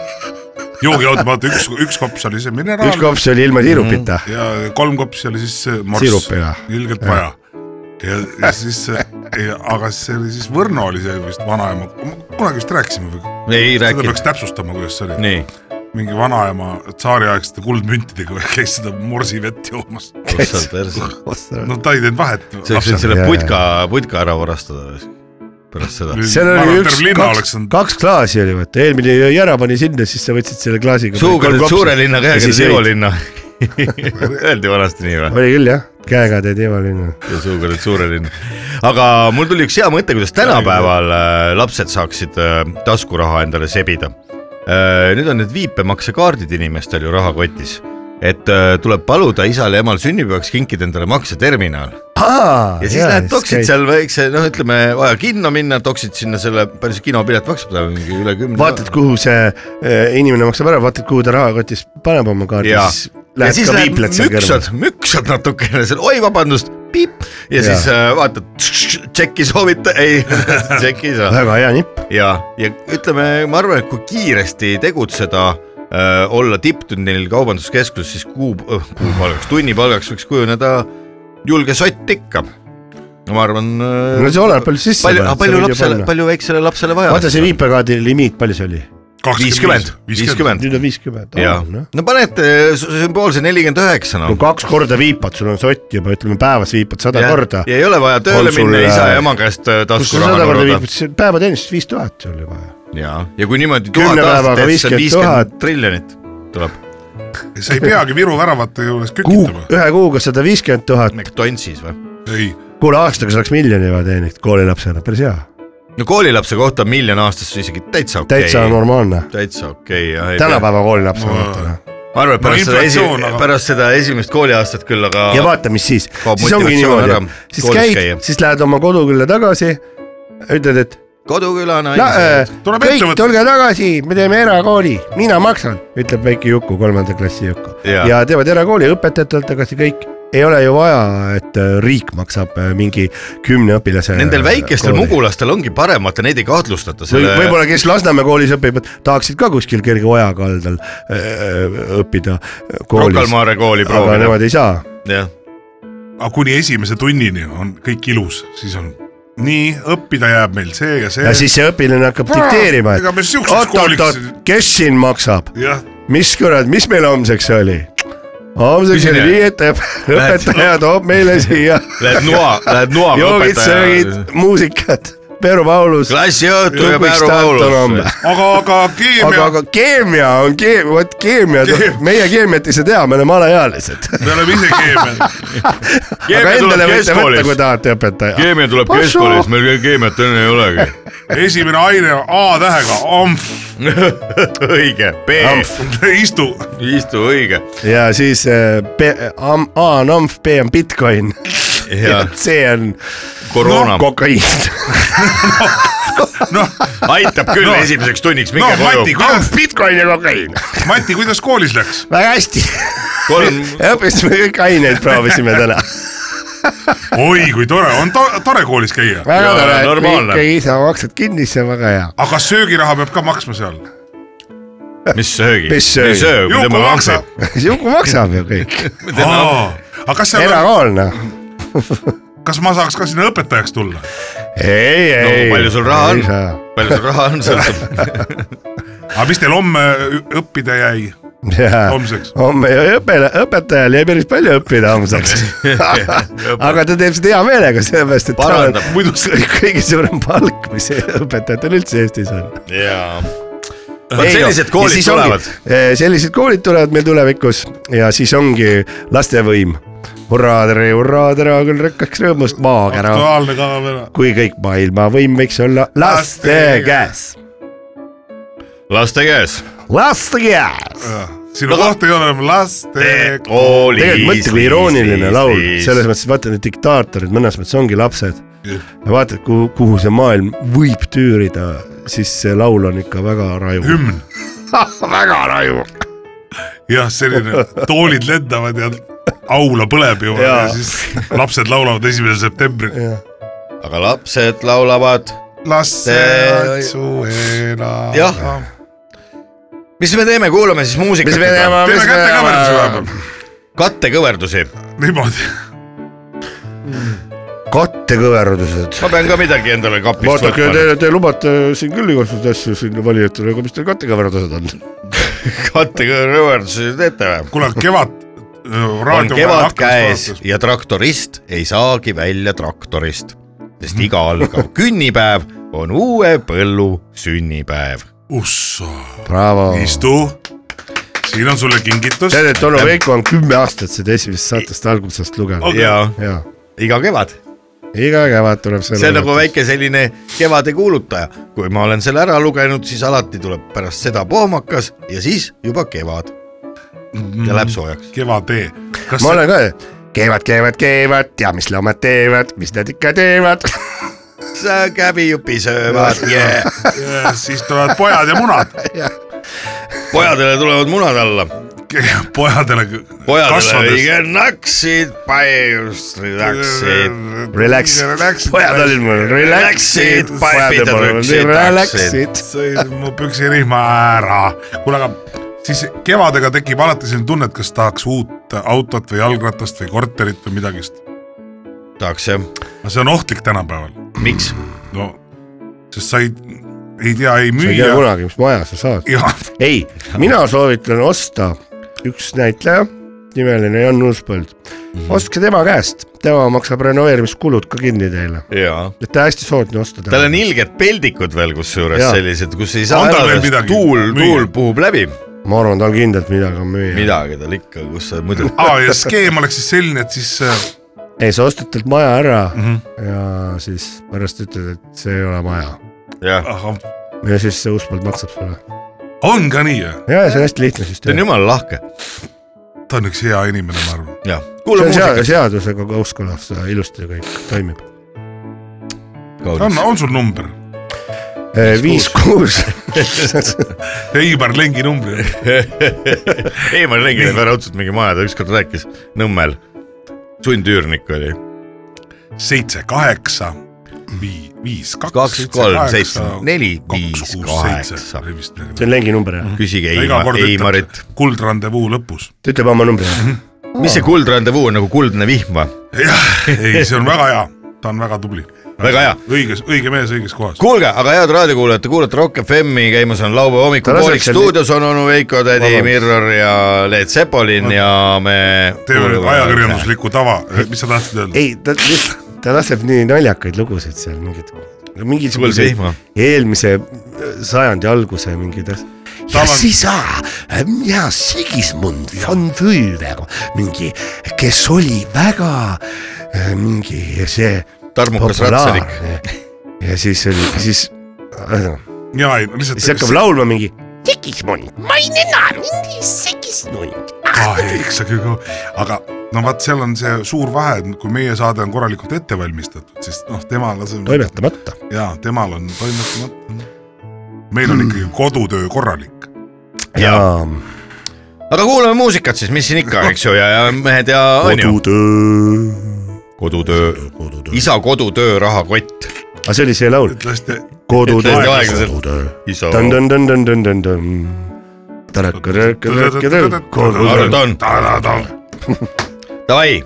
Speaker 6: joogiautomaat , üks , üks kops oli see mineraal
Speaker 5: üks kops oli ilma tiirupita .
Speaker 6: ja kolm kopsi oli siis see morss
Speaker 5: Siirupiga. ,
Speaker 6: ilgelt vaja . ja , ja siis , aga see oli siis Võrno oli see vist vanaema , kunagi vist rääkisime või ?
Speaker 4: ei
Speaker 6: seda
Speaker 4: rääkinud
Speaker 6: peaks . täpsustama , kuidas see oli ,
Speaker 4: nii ,
Speaker 6: mingi vanaema tsaariaegsete kuldmüntidega käis seda morsivett joomas .
Speaker 4: ossa perse .
Speaker 6: no ta ei teinud vahet .
Speaker 4: sa võiksid
Speaker 6: seal
Speaker 4: selle
Speaker 5: Jaa,
Speaker 4: putka , putka ära varastada pärast seda .
Speaker 5: seal oli üks , kaks
Speaker 6: kaks ,,
Speaker 5: kaks klaasi oli vaata , eelmine jõi ära , pani sinna , siis sa võtsid selle klaasiga .
Speaker 4: suuga teed suure linna ,
Speaker 5: Ja
Speaker 4: käega
Speaker 5: siis
Speaker 4: teed Ivo
Speaker 5: jõid.
Speaker 4: linna . Öeldi vanasti nii või ?
Speaker 5: oli küll jah , käega teed eemalinu .
Speaker 4: ja suuga teed suure linna . aga mul tuli üks hea mõte , kuidas tänapäeval äh, lapsed saaksid äh, taskuraha endale sebida . nüüd on need viipemaksekaardid inimestel ju rahakotis , et äh, tuleb paluda isal ja emal sünnipäevaks kinkida endale makseterminal
Speaker 5: Ah,
Speaker 4: ja siis lähed toksid . seal väikse , noh , ütleme vaja kinno minna , toksid sinna selle , palju see kinopilet maksab , mingi üle kümne .
Speaker 5: vaatad , kuhu see eh, inimene maksab ära , vaatad , kuhu ta rahakotis paneb oma kaardi ,
Speaker 4: ja ,
Speaker 5: siis lähed ka viipled seal
Speaker 4: müksad
Speaker 5: kõrval .,
Speaker 4: müksad natukene seal , oi vabandust , piip ja, ja.
Speaker 5: Jaa.
Speaker 4: siis äh, vaatad , tšeki soovita , ei tšeki ei saa
Speaker 5: väga hea nipp .
Speaker 4: ja , ja ütleme , ma arvan , et kui kiiresti tegutseda äh, , olla tipptunnil kaubanduskeskuses , siis kuu , kuupalgaks , tunnipalgaks võiks kujuneda julge sott ikka . ma arvan äh,
Speaker 5: no see oleneb palju sisse
Speaker 4: ah, palju , palju lapsele ,. palju väiksele lapsele vaja .
Speaker 5: vaata see viipekaardi limiit , palju see oli ?
Speaker 4: viiskümmend , viiskümmend
Speaker 5: nüüd on viiskümmend .
Speaker 4: ja
Speaker 5: no
Speaker 4: no panete s- sümboolse nelikümmend üheksa noh .
Speaker 5: kaks korda viipad , sul on sott juba , ütleme päevas viipad sada korda .
Speaker 4: ja ei ole vaja tööle
Speaker 5: On sul,
Speaker 4: minna , isa
Speaker 5: äh,
Speaker 4: ja ema käest
Speaker 5: kus
Speaker 4: äh,
Speaker 5: sa
Speaker 4: taskuraha
Speaker 5: sada korda
Speaker 4: nõuda
Speaker 5: viipad , siis on päevateenistus viis tuhat sul juba .
Speaker 4: ja , ja kui niimoodi
Speaker 5: Kümne
Speaker 4: tuhat aastat
Speaker 5: päevaga
Speaker 4: teed , siis on
Speaker 5: 50
Speaker 4: viiskümmend
Speaker 5: 000.
Speaker 4: triljonit tuleb .
Speaker 6: sa ei peagi Viru väravate juures
Speaker 5: kuu ,
Speaker 6: kükitama .
Speaker 5: ühe kuuga sada viiskümmend tuhat ,
Speaker 4: McDonaldsis või ?
Speaker 6: ei ,
Speaker 5: kuule aastaga saaks miljoni juba teeninud koolilapsena , päris hea ,
Speaker 4: no koolilapse kohta miljon aastas isegi täitsa okei
Speaker 5: täitsa okay.
Speaker 4: okay. .
Speaker 5: normaalne .
Speaker 4: täitsa okei okay, jah . ma
Speaker 5: tänapäeva noh. koolilapse
Speaker 6: Ma-
Speaker 5: vaatame .
Speaker 4: arvan , et
Speaker 6: No
Speaker 4: pärast no, seda esi-
Speaker 6: inflatsioon, , aga-
Speaker 4: pärast seda esimest kooliaastat küll , aga
Speaker 5: ja vaata , mis siis ,
Speaker 4: Kaob
Speaker 5: siis ongi
Speaker 4: motivatsioon
Speaker 5: niimoodi
Speaker 4: ära, ,
Speaker 5: siis
Speaker 4: koolis
Speaker 5: käid
Speaker 4: käia. ,
Speaker 5: siis lähed oma kodukülla tagasi , ütled , et
Speaker 4: koduküla
Speaker 5: no,
Speaker 4: naised
Speaker 5: äh,
Speaker 6: Tuleb
Speaker 5: kõik ,
Speaker 6: ettevõte-
Speaker 5: tulge tagasi , me teeme erakooli , mina maksan , ütleb väike Juku , kolmanda klassi Juku .
Speaker 4: Jaa.
Speaker 5: ja teevad erakooli , õpetajad tulevad tagasi , kõik , ei ole ju vaja , et äh, riik maksab äh, mingi kümne õpilase .
Speaker 4: Nendel väikestel . mugulastel ongi parem , vaata neid ei kahtlustata
Speaker 5: Või,
Speaker 4: selle
Speaker 5: võib-olla , kes Lasnamäe koolis õpivad , tahaksid ka kuskil kerge oja kaldal äh, õppida koolis ,
Speaker 4: Rocalmaare kooli
Speaker 5: aga
Speaker 4: proovida ,
Speaker 5: nemad ei saa .
Speaker 4: jah .
Speaker 6: aga kuni esimese tunnini on kõik ilus , siis on nii , õppida jääb meil see ja see .
Speaker 5: ja siis see õpilane hakkab dikteerima ,
Speaker 6: ega me
Speaker 5: et
Speaker 6: siukseks kooliks
Speaker 5: oot-oot-oot , kes siin maksab ,
Speaker 6: jah ,
Speaker 5: mis kurat , mis meil homseks oli ? homseks oli
Speaker 4: Tõsine.
Speaker 5: riiete , õpetaja toob meile siia
Speaker 4: Lähed noa , lähed noaga
Speaker 5: joogid , söögid
Speaker 4: õpetaja ,.
Speaker 5: muusikat , Peeru Paulus .
Speaker 4: klassiõhtu ja
Speaker 5: Lubiks
Speaker 4: Pääru
Speaker 5: Tartu
Speaker 4: Paulus .
Speaker 6: aga , aga
Speaker 5: aga ,
Speaker 6: keemia ,
Speaker 5: aga keemia on keem- , vot keemia
Speaker 6: Keem- ,
Speaker 5: meie keemiat ei saa teha , me oleme alaealised .
Speaker 6: me oleme ise keemia .
Speaker 5: aga
Speaker 4: keemia
Speaker 5: endale võite võtta ,
Speaker 4: tuleb
Speaker 5: kui
Speaker 4: keskkoolis ,
Speaker 5: tahate õpetaja .
Speaker 4: keemia tuleb
Speaker 5: Passu.
Speaker 4: keskkoolis , meil keemiat enne ei olegi .
Speaker 6: esimene aine on A tähega , amf ,
Speaker 4: õige , B ,
Speaker 6: istu ,
Speaker 4: istu õige
Speaker 5: ja siis äh, B , A on amf , B on Bitcoin ja
Speaker 4: ja
Speaker 5: C on
Speaker 4: koroona no,
Speaker 5: kokaiin .
Speaker 6: noh ,
Speaker 4: aitab küll no. esimeseks tunniks , minge
Speaker 6: noh ,
Speaker 4: no,
Speaker 6: Mati ,
Speaker 4: koju .
Speaker 6: kuidas ,
Speaker 5: Bitcoin ja kokaiin ,
Speaker 6: Mati , kuidas koolis läks ?
Speaker 5: väga hästi ,
Speaker 4: kolm ,
Speaker 5: õppisime kõiki aineid , proovisime täna
Speaker 6: oi , kui tore , on to- tore koolis käia .
Speaker 5: väga
Speaker 4: Ja
Speaker 5: tore , et
Speaker 4: normaalne.
Speaker 5: ikkagi ise maksad kinni , see on väga hea .
Speaker 6: aga kas söögiraha peab ka maksma seal ?
Speaker 4: mis söögi ,
Speaker 5: Mis söögi?
Speaker 4: sööb , mida
Speaker 6: Juku
Speaker 4: ma
Speaker 6: maksab
Speaker 4: maksan ..
Speaker 5: Juku maksab ju kõik , noh.
Speaker 6: aga kas seal on ,
Speaker 5: erakoolne .
Speaker 6: kas ma saaks ka sinna õpetajaks tulla ?
Speaker 5: ei , ei .
Speaker 4: palju sul raha on? ? palju sul raha on , sõltub .
Speaker 6: aga mis teil homme ü- õppida jäi ? Homseks.
Speaker 5: homme õpetaja , õpetajal jäi päris palju õppida homseks . aga ta teeb seda hea meelega , sellepärast et
Speaker 4: Parandab.
Speaker 5: tal on muidu see kõige suurem palk , mis õpetajatel üldse Eestis on .
Speaker 4: jaa . sellised koolid tulevad ..
Speaker 5: e, sellised koolid tulevad meil tulevikus ja siis ongi lastevõim . hurraa , tere , hurraa , tere , küll rõkkaks rõõmust maakera
Speaker 6: aktuaalne kaamera .
Speaker 5: kui kõik maailmavõim võiks olla laste
Speaker 6: Laste
Speaker 5: käes .
Speaker 4: laste käes .
Speaker 5: laste käes .
Speaker 6: sinu koht ei ole enam laste .
Speaker 4: E-
Speaker 5: tegelikult mõtle , kui irooniline laul , selles mõttes , vaata need diktaatorid mõnes mõttes ongi lapsed . ja vaatad , kuhu , kuhu see maailm võib tüürida , siis see laul on ikka väga raju .
Speaker 6: hümn ,
Speaker 5: väga raju .
Speaker 6: jah , selline toolid lendavad ja aula põleb juba ja.
Speaker 5: Jaa.
Speaker 6: ja siis lapsed laulavad esimesel septembril .
Speaker 4: aga lapsed laulavad .
Speaker 6: laste
Speaker 4: See-
Speaker 6: otsu elab .
Speaker 4: Jah. mis me teeme , kuulame siis
Speaker 5: mis me
Speaker 4: muusikat .
Speaker 5: teeme ,
Speaker 6: teeme
Speaker 5: mis me
Speaker 6: kätekõverdusi
Speaker 5: teeme ?
Speaker 6: vahepeal ,
Speaker 4: kattekõverdusi .
Speaker 6: niimoodi .
Speaker 5: kattekõverdused .
Speaker 4: ma pean ka midagi endale kapist
Speaker 5: vaadake , te
Speaker 4: võtma .,
Speaker 5: te lubate siin küll igasuguseid asju siin valijatele , aga mis teil kattekõverdused on ?
Speaker 4: kattekõverdusi teete või ?
Speaker 6: kuule , kevad .
Speaker 4: on kevad käes . ja traktorist ei saagi välja traktorist , sest iga algav künnipäev on uue põllu sünnipäev .
Speaker 6: ussa ,
Speaker 5: Bravo .
Speaker 6: istu . siin on sulle kingitus .
Speaker 5: tead , et Olo Veiko on kümme aastat seda esimesest saatest algusest lugenud
Speaker 6: Okei.
Speaker 4: ja
Speaker 5: ja
Speaker 4: iga kevad ,
Speaker 5: iga kevad tuleb selle
Speaker 4: Oh. see on nagu väike selline kevade kuulutaja , kui ma olen selle ära lugenud , siis alati tuleb pärast seda pohmakas ja siis juba kevad ja läheb soojaks .
Speaker 6: kevadtee . kas
Speaker 5: ma olen ka , keevad , keevad , keevad ja mis loomad teevad , mis nad ikka teevad .
Speaker 4: sa käbijupi söövad yeah. ,
Speaker 6: ja siis tulevad pojad ja munad .
Speaker 4: pojadele tulevad munad alla ,
Speaker 6: pojadele .
Speaker 4: pojadele õige naksid , paiustrid hakkasid .
Speaker 5: Relax , pojad olid mul , relax'id ,
Speaker 4: Relax'id,
Speaker 5: pojad
Speaker 4: pipid
Speaker 5: on mul ,
Speaker 4: rüksid,
Speaker 5: relax'id .
Speaker 6: sõid mu püksirihma ära . kuule , aga siis kevadega tekib alati selline tunne , et kas tahaks uut autot või jalgratast või korterit või midagist .
Speaker 4: tahaks jah ,
Speaker 6: no see on ohtlik tänapäeval .
Speaker 4: miks ?
Speaker 6: no , sest sa ei , ei
Speaker 5: sa
Speaker 6: tea , ei
Speaker 5: ei tea
Speaker 6: müüa .
Speaker 5: kunagi , mis maja sa saad .
Speaker 6: jah ,
Speaker 5: ei , mina soovitan osta üks näitleja , nimeline Jan Uuspõld . ostke tema käest , tema maksab renoveerimiskulud ka kinni teile ,
Speaker 4: jaa .
Speaker 5: et hästi soodne osta .
Speaker 4: tal on ilged peldikud veel kusjuures
Speaker 5: Jaa.
Speaker 4: sellised , kus ei saa
Speaker 6: On tal
Speaker 4: elada
Speaker 6: veel , midagi
Speaker 4: tuul ,
Speaker 6: müüa?
Speaker 4: tuul puhub läbi ,
Speaker 5: ma arvan , tal kindlalt midagi on müüa .
Speaker 4: midagi tal ikka , kus sa muidu
Speaker 6: aa ja skeem oleks siis selline , et siis äh,
Speaker 5: ei , sa ostad talt maja ära
Speaker 6: Mhm.
Speaker 5: ja siis pärast ütled , et see ei ole maja .
Speaker 4: jah ,
Speaker 6: ahah,
Speaker 5: ja siis see Uuspõld maksab sulle .
Speaker 6: on ka nii ,
Speaker 5: ja , ja see on hästi lihtne
Speaker 4: ta on
Speaker 5: süsteem .
Speaker 4: jumala lahke ,
Speaker 6: ta on üks hea inimene , ma arvan .
Speaker 4: jah .
Speaker 5: see
Speaker 4: kuule
Speaker 5: on seaduse ,
Speaker 4: muusikat .
Speaker 5: seadusega kooskõlas , ilusti kõik toimib .
Speaker 6: anna , on sul number ?
Speaker 5: viis , kuus .
Speaker 6: Eibar Lengi numbri .
Speaker 4: ei , ma räägin , et raudselt mingi maja , ta ükskord rääkis Nõmmel , sundüürnik oli ,
Speaker 6: seitse , kaheksa , viis , viis , kaks ,
Speaker 4: Kaks, kolm, seitse, neli, viis, kaheksa.
Speaker 6: nagu-
Speaker 5: see on lengi number jah ?
Speaker 4: küsige Eima, Eimarit .
Speaker 6: kuldrandevuu lõpus .
Speaker 5: ta ütleb oma numbri ära .
Speaker 4: mis see kuldrandevuu on nagu kuldne vihm või ?
Speaker 6: jah , ei , see on väga hea , ta on väga tubli .
Speaker 4: Väga hea. .
Speaker 6: õiges , õige mees õiges kohas .
Speaker 4: kuulge , aga head raadiokuulajad , te kuulate Rock FM-i , käimas on laupäeva hommikupoolik ,
Speaker 5: Laseks-
Speaker 4: stuudios on onu Veiko , tädi
Speaker 5: Vabandust.
Speaker 4: Mirror ja Leet Sepolin ja me .
Speaker 6: teeme nüüd ajakirjandusliku tava , mis sa tahtsid öelda ?
Speaker 5: ei , ta , ta laseb nii naljakaid lugusid seal mingid ,
Speaker 4: Kuulge
Speaker 5: mingisuguseid
Speaker 4: vihma.
Speaker 5: eelmise äh, sajandi alguse mingeid asju . ja
Speaker 6: Tal on-
Speaker 5: siis ah, mina Sigismund von Fülver mingi , kes oli väga äh, mingi see .
Speaker 4: Tarmukas ratsanik. .
Speaker 5: ja siis oli , siis äh,
Speaker 6: ja ei , lihtsalt .
Speaker 5: siis hakkab laulma mingi . Sigismund , ma ei näe mind , Sigismund .
Speaker 6: ah, . eks sa küll , aga no vaat seal on see suur vahe , et kui meie saade on korralikult ette valmistatud , siis noh , temal on .
Speaker 5: toimetamata .
Speaker 6: ja temal on toimetamata . meil on ikkagi kodutöö korralik .
Speaker 4: Hmm.
Speaker 5: ja
Speaker 4: aga kuulame muusikat siis , mis siin ikka , eks ju , ja , ja mehed ja onju .
Speaker 5: kodutöö .
Speaker 4: kodutöö ,
Speaker 5: kodutöö .
Speaker 4: isa kodutöö rahakott .
Speaker 5: aga see oli see laul .
Speaker 6: et lasti ,
Speaker 5: kodutöö
Speaker 4: Hästi aeglaselt. . isa . Ardan. Davai ,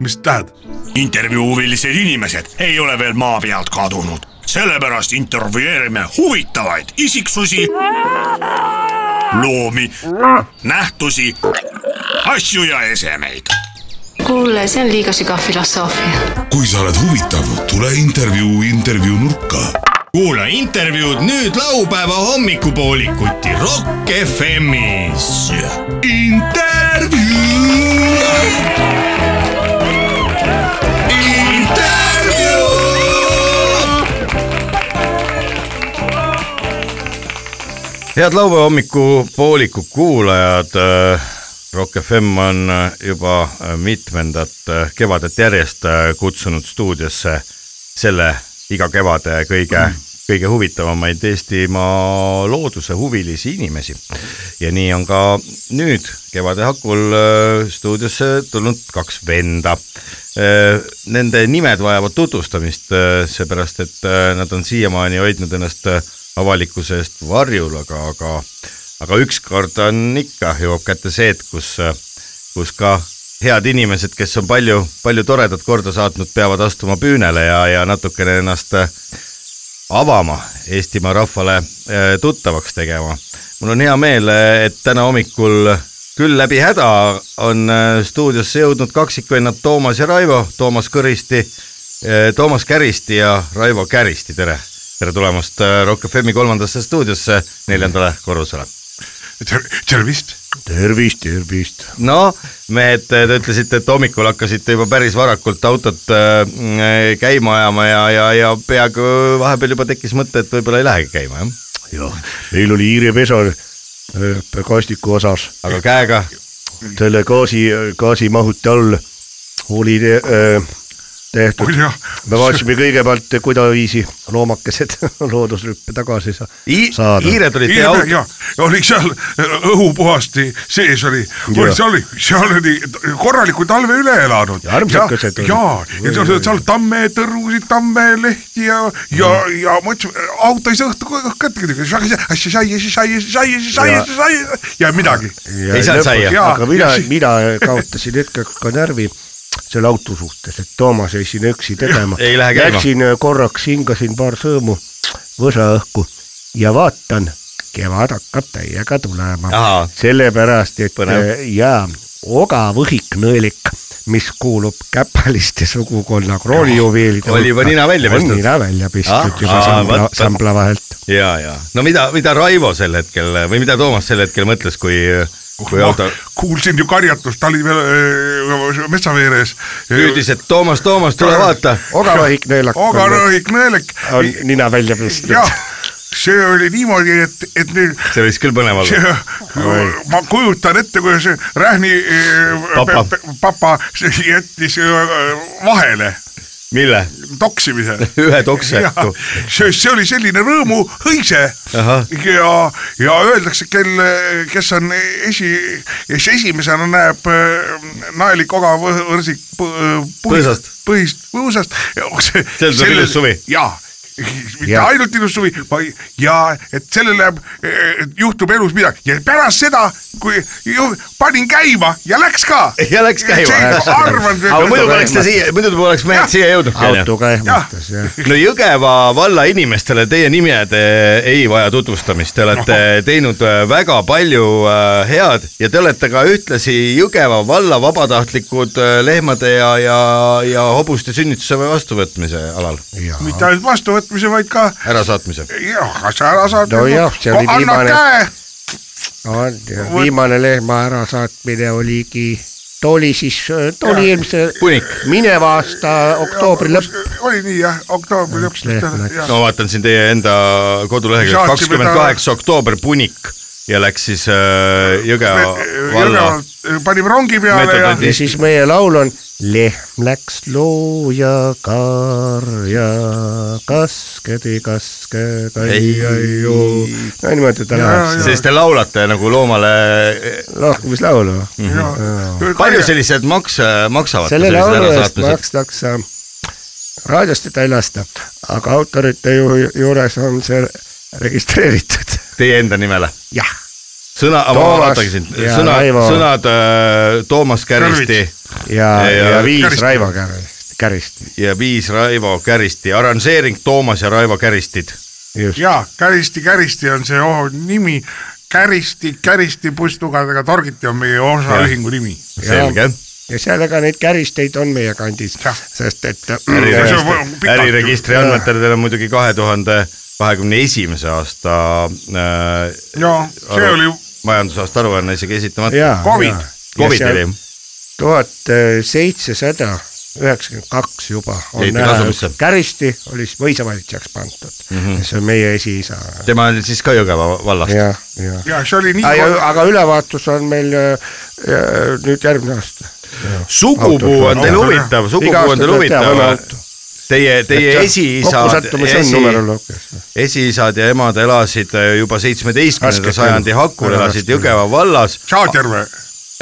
Speaker 6: mis tähendab ,
Speaker 1: intervjuuvilised inimesed ei ole veel maa pealt kadunud , sellepärast intervjueerime huvitavaid isiksusi , loomi , nähtusi , asju ja esemeid .
Speaker 2: kuule , see on liiga sügav filosoofia .
Speaker 7: kui sa oled huvitav , tule intervjuu intervjuu nurka
Speaker 1: kuula intervjuud nüüd laupäeva hommikupoolikuti Rock FM-is .
Speaker 7: intervjuu .
Speaker 4: head laupäeva hommikupooliku kuulajad . Rock FM on äh, juba äh, mitmendat äh, kevadet järjest äh, kutsunud stuudiosse selle iga kevade kõige , kõige huvitavamaid Eestimaa looduse huvilisi inimesi . ja nii on ka nüüd kevade hakul äh, stuudiosse tulnud kaks venda . Nende nimed vajavad tutvustamist , seepärast et äh, nad on siiamaani hoidnud ennast äh, avalikkuse eest varjul , aga , aga , aga ükskord on ikka , jõuab kätte see hetk , kus , kus ka head inimesed , kes on palju , palju toredat korda saatnud , peavad astuma püünele ja , ja natukene ennast äh, avama , Eestimaa rahvale äh, tuttavaks tegema . mul on hea meel , et täna hommikul küll läbi häda on äh, stuudiosse jõudnud kaksikvennad Toomas ja Raivo , Toomas Kõristi , Toomas Käristi ja Raivo Käristi , tere . tere tulemast äh, Rock FM-i kolmandasse stuudiosse , neljandale korrusele .
Speaker 6: tervist .
Speaker 5: tervist , tervist .
Speaker 4: no mehed , te ütlesite , et hommikul hakkasite juba päris varakult autot äh, mm, käima ajama ja , ja , ja peaaegu vahepeal juba tekkis mõte , et võib-olla ei lähegi käima , jah ?
Speaker 5: jah , meil oli hiirepesa kaastiku osas ,
Speaker 4: aga käega
Speaker 5: selle gaasi , gaasimahuti all oli te, öö, tehtud
Speaker 6: oli . jah ,
Speaker 5: me vaatasime kõigepealt , kuidaviisi loomakesed looduslüppe tagasi sa-
Speaker 4: I-
Speaker 5: saada .
Speaker 4: hiired olid teie
Speaker 6: ja ,
Speaker 4: auto ,
Speaker 6: ja oli seal äh, õhupuhasti sees oli , oli seal , seal oli korraliku talve üle elanud .
Speaker 5: Ja armsakesed olid.
Speaker 6: ja , ja seal, seal tamme tõrgusid , tamme lehti ja , ja , ja mõtlesin , auto ei saa õhtu kõtke , ja midagi .
Speaker 4: Ei saanud saia.
Speaker 5: aga mina
Speaker 6: Ja si- ,
Speaker 5: mina kaotasin hetkeks ka närvi selle auto suhtes , et Toomas jäi sinna üksi tegema .
Speaker 4: Ei lähe käima.
Speaker 5: Läksin korraks , hingasin paar sõõmu , võsaõhku ja vaatan , kevad hakkab täiega tulema .
Speaker 4: ahaa ,
Speaker 5: sellepärast , et
Speaker 4: Põnev.
Speaker 5: äh, jaa , ogavõhiknõelik , mis kuulub käpaliste sugukonna kroonijuveelide
Speaker 4: Oli juba nina välja
Speaker 5: on
Speaker 4: pestud?
Speaker 5: nina välja
Speaker 4: Ah,
Speaker 5: pestud juba
Speaker 4: aa,
Speaker 5: sambla
Speaker 4: vot, , vot.
Speaker 5: sambla vahelt .
Speaker 4: ja , ja no mida , mida Raivo sel hetkel või mida Toomas sel hetkel mõtles , kui , kui auto
Speaker 6: kuulsin ju karjatust , ta oli veel öö, metsaveeres .
Speaker 4: hüüdis , et Toomas , Toomas , tule vaata .
Speaker 5: ogavõhiknõelak on,
Speaker 6: ogarõhik nõelik .
Speaker 5: on nina välja pestud .
Speaker 6: jah , see oli niimoodi , et , et nüüd
Speaker 4: see võiks küll põnev olla .
Speaker 6: see , ma kujutan ette , kuidas Rähni eh,
Speaker 4: Papa.
Speaker 6: pe- pe- papa see jättis eh, vahele
Speaker 4: mille ?
Speaker 6: toksimise .
Speaker 4: ühe tokseku .
Speaker 6: see , see oli selline rõõmu hõise
Speaker 4: Ahah.
Speaker 6: ja , ja öeldakse , kelle , kes on esi , kes esimesena näeb eh, naelik oga võ- võrsik põ-
Speaker 4: Põõsast.
Speaker 6: põhist , põõsast . see
Speaker 4: Sel tuleb ilus suvi.
Speaker 6: jaa mitte ja.
Speaker 5: Jaa.
Speaker 6: ainult ilus suvi , vaid ja et sellel läheb , juhtub elus midagi ja pärast seda , kui ju, panin käima ja läks ka .
Speaker 4: ja läks käima .
Speaker 6: arvan ,
Speaker 4: aga muidu poleks ta siia , muidu poleks mehed siia jõudnud .
Speaker 5: autoga ehmatas jah .
Speaker 4: no Jõgeva valla inimestele teie nimed eh, ei vaja tutvustamist , te olete teinud eh, väga palju eh, head ja te olete ka ühtlasi Jõgeva valla vabatahtlikud eh, lehmade ja , ja , ja hobuste sünnituse või vastuvõtmise alal ,
Speaker 6: mitte ainult vastuvõtmise , vaid ka
Speaker 4: ärasaatmise .
Speaker 6: jah , kas sa ära saad nagu-
Speaker 5: No jah, see oli
Speaker 6: anna
Speaker 5: viimane-
Speaker 6: käe ,
Speaker 5: on ja viimane lehma ärasaatmine oligi , too oli siis , too oli eelmise
Speaker 4: punik.
Speaker 5: mineva aasta oktoobri lõpp .
Speaker 6: oli nii jah , oktoobri lõpus
Speaker 5: Lehm läks. .
Speaker 4: no vaatan siin teie enda kodulehekülg ,
Speaker 6: Saatsime ta-
Speaker 4: kakskümmend kaheksa oktoober punik ja läks siis eh, Jõgeva valla
Speaker 6: eh, panime rongi peale ja
Speaker 4: Metodonti-
Speaker 5: ja siis meie laul on lehm läks looja karja , kaskedi kaske , kai
Speaker 4: Ei. ,
Speaker 5: kai , joo . no niimoodi ta läheb .
Speaker 4: siis te laulate nagu loomale eh,
Speaker 5: lahkumislaulu .
Speaker 6: ja-
Speaker 4: palju sellised makse maksavad ?
Speaker 5: selle laulu eest makstakse , raadiost teda ei lasta , aga autorite ju- juures on see registreeritud .
Speaker 4: Teie enda nimele ?
Speaker 5: jah ,
Speaker 4: sõna , ma
Speaker 5: Toomas
Speaker 4: vaatan siin ,
Speaker 5: ja
Speaker 4: sõnad
Speaker 5: Raivo. ,
Speaker 4: sõnad äh, Toomas Käristi
Speaker 5: ja ,
Speaker 4: Ja-
Speaker 5: ja viis
Speaker 6: Kärist.
Speaker 5: Raivo Kärist , Kärist ,
Speaker 4: ja viis Raivo Käristi , arranžeering Toomas ja Raivo Käristid .
Speaker 5: just .
Speaker 6: ja Käristi , Käristi on see oh, nimi , Käristi , Käristi pussnugadega torgiti on meie osaühingu nimi .
Speaker 4: selge .
Speaker 5: ja seal ega neid käristeid on meie kandis , sest et . äh, mm,
Speaker 6: see on pikalt ju.
Speaker 4: äriregistri andmetel teil on muidugi kahe tuhande kahekümne esimese aasta äh,
Speaker 6: ja see
Speaker 4: aru-
Speaker 6: oli
Speaker 4: majandusaasta aruanne isegi esitamata .
Speaker 5: jaa .
Speaker 6: Covid.
Speaker 4: Covid oli .
Speaker 5: tuhat seitsesada üheksakümmend kaks juba on
Speaker 4: Jäite
Speaker 5: ära
Speaker 4: kasumisse. ,
Speaker 5: käristi oli siis mõisavalitsejaks pandud mm ,
Speaker 6: Mhm.
Speaker 5: -hmm. see on meie esiisa .
Speaker 4: tema on siis ka Jõgeva vallast .
Speaker 5: jah , jah .
Speaker 6: ja see oli nii ,
Speaker 5: aga ülevaatus on meil äh, äh, nüüd järgmine aasta .
Speaker 4: sugupuu on teil
Speaker 6: Autod-
Speaker 4: huvitav ,
Speaker 5: Iga
Speaker 4: sugupuu on
Speaker 5: aasta
Speaker 4: teil
Speaker 5: tuleb
Speaker 4: huvitav
Speaker 5: teha vana auto. .
Speaker 4: Teie , teie esiisad ,
Speaker 5: kokkusattumus on numeroloogias .
Speaker 4: esiisad ja emad elasid äh, juba seitsmeteistkümnenda
Speaker 5: Raskelt
Speaker 4: sajandi
Speaker 5: elu.
Speaker 4: hakul ,
Speaker 5: Väga
Speaker 4: elasid
Speaker 5: raske elu.
Speaker 4: Jõgeva vallas
Speaker 6: Saadjärve ,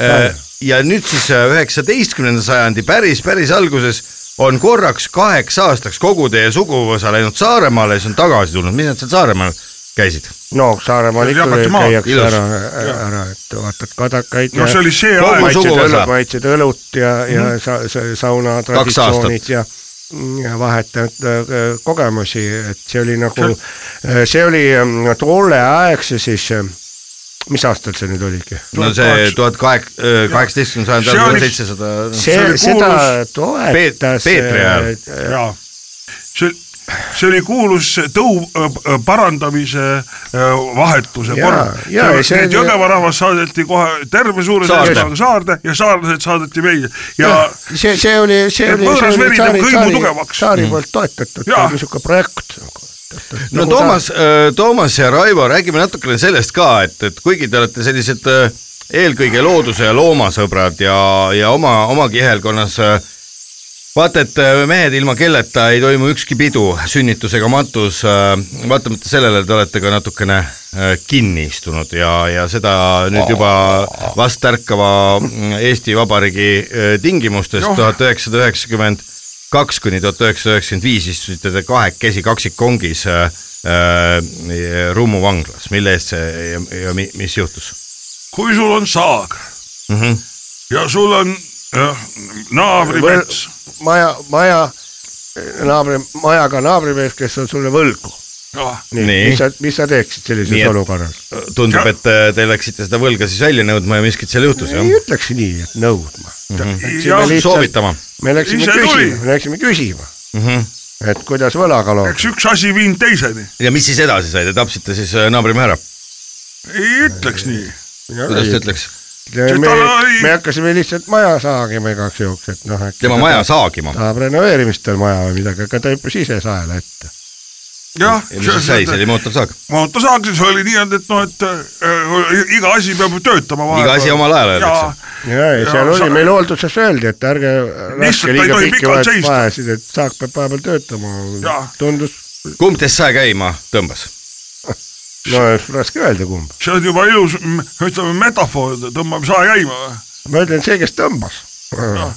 Speaker 4: äh, ja nüüd siis äh, üheksateistkümnenda sajandi päris , päris alguses on korraks kaheks aastaks kogu teie suguvõsa läinud Saaremaale ja siis on tagasi tulnud , mis nad seal Saaremaal käisid ?
Speaker 5: no Saaremaal ikka
Speaker 6: Jagati maha.
Speaker 5: käiakse
Speaker 4: Ilus.
Speaker 5: ära , ära , et vaatad kadakaid .
Speaker 6: no see oli see
Speaker 4: Kogu
Speaker 6: aeg ,
Speaker 4: sugu
Speaker 5: maitsed
Speaker 4: võsa. ,
Speaker 5: maitsed õlut ja , ja
Speaker 6: Mhm.
Speaker 5: sa, sa, sauna traditsioonid ja , ja vahetanud äh, kogemusi , et see oli nagu , see oli ähm, tolleaegse siis , mis aastal see nüüd oligi ?
Speaker 4: no see tuhat kahek- , kaheksateistkümnenda sajandi
Speaker 6: See oli-
Speaker 4: alguses seitsesada ,
Speaker 5: see, see ,
Speaker 6: oli
Speaker 5: seda
Speaker 6: kuulus
Speaker 5: toetas
Speaker 4: Peet- Peetri ajal.
Speaker 5: äh,
Speaker 6: jaa . see , see oli kuulus tõu äh, parandamise äh, vahetuse
Speaker 5: Jaa,
Speaker 6: kord .
Speaker 5: jaa, see
Speaker 6: Need
Speaker 5: oli-
Speaker 6: Jõgeva rahvas saadeti kohe terve suure
Speaker 4: Saarde.
Speaker 6: seltskonnaga saarde ja saarlased saadeti meile ja
Speaker 5: jah , see , see oli , see
Speaker 6: Et
Speaker 5: oli ,
Speaker 6: võõras
Speaker 5: see
Speaker 6: veri
Speaker 5: oli
Speaker 6: teeb
Speaker 5: tsaari ,
Speaker 6: kõimu
Speaker 5: tsaari ,
Speaker 6: tugevaks. Mhm.
Speaker 5: tsaari poolt toetatud
Speaker 6: Jaa.
Speaker 5: niisugune projekt . Nagu
Speaker 4: no Toomas , Toomas ja Raivo , räägime natukene sellest ka , et , et kuigi te olete sellised äh, eelkõige looduse ja loomasõbrad ja , ja oma , oma kihelkonnas äh, vaata , et äh, mehed ilma kelleta ei toimu ükski pidu , sünnitus ega matus , vaatamata sellele te olete ka natukene äh, kinni istunud ja , ja seda nüüd juba vastärkava Eesti Vabariigi äh, tingimustes
Speaker 6: Noh.
Speaker 4: tuhat üheksasada üheksakümmend kaks kuni tuhat üheksasada üheksakümmend viis istusite te kahekesi kaksikkongis äh, äh, Rummu vanglas , mille eest see ja, ja mi- mis juhtus
Speaker 6: kui sul on saag
Speaker 4: mm ? -hmm.
Speaker 6: ja sul on äh, naabrimets ,
Speaker 5: maja , maja , naabri , majaga naabrimees , kes on sulle võlgu
Speaker 6: ah,
Speaker 5: nii,
Speaker 4: Nii.
Speaker 5: nii. , mis sa , mis sa teeksid sellises
Speaker 4: Nii et-
Speaker 5: nii, olukorras ?
Speaker 4: tundub , et äh, te läksite seda võlga siis välja nõudma ja miskit seal juhtus jah
Speaker 5: ei ? ütleks nii , et nõudma mm .
Speaker 4: Mhm.
Speaker 6: Ja
Speaker 5: -hmm.
Speaker 4: soovitama .
Speaker 5: me läksime
Speaker 6: Ise tuli.
Speaker 5: küsima , me läksime küsima mm ,
Speaker 4: Mhm.
Speaker 5: -hmm. et kuidas võlaga lood
Speaker 6: eks üks asi viinud teiseni ,
Speaker 4: ja mis siis edasi sai , te tapsite siis äh, naabrimehe ära ,
Speaker 6: ei ütleks nii .
Speaker 4: kuidas ta ütleks ,
Speaker 5: me,
Speaker 6: Tal oli-
Speaker 5: me hakkasime lihtsalt maja saagima igaks juhuks , et noh , äkki
Speaker 4: tema
Speaker 5: ta
Speaker 4: maja saagima ,
Speaker 5: tahab renoveerimist on maja või midagi , aga ta hüppas ise saela ette .
Speaker 6: jah ,
Speaker 4: mis siis sai , see oli mootorsaag ,
Speaker 6: mootorsaagis oli nii-öelda , et noh , et äh, iga asi peab ju töötama
Speaker 4: iga asi omal ajal öeldakse .
Speaker 5: ja , ja seal
Speaker 6: Ja
Speaker 5: oli
Speaker 6: sa- ,
Speaker 5: meil hoolduses öeldi , et ärge laske
Speaker 6: ei
Speaker 5: liiga
Speaker 6: tohi
Speaker 5: pikki
Speaker 6: pikalt
Speaker 5: vahet-
Speaker 6: seista.
Speaker 5: vahesid , et saak peab vahepeal töötama
Speaker 6: Jaa. .
Speaker 5: tundus ,
Speaker 4: kumb teist sai käima tõmbas ?
Speaker 5: no raske öelda , kumb .
Speaker 6: see on juba ilus , ütleme metafoor , tõmbame saa käima või ?
Speaker 5: ma ütlen , see , kes tõmbas .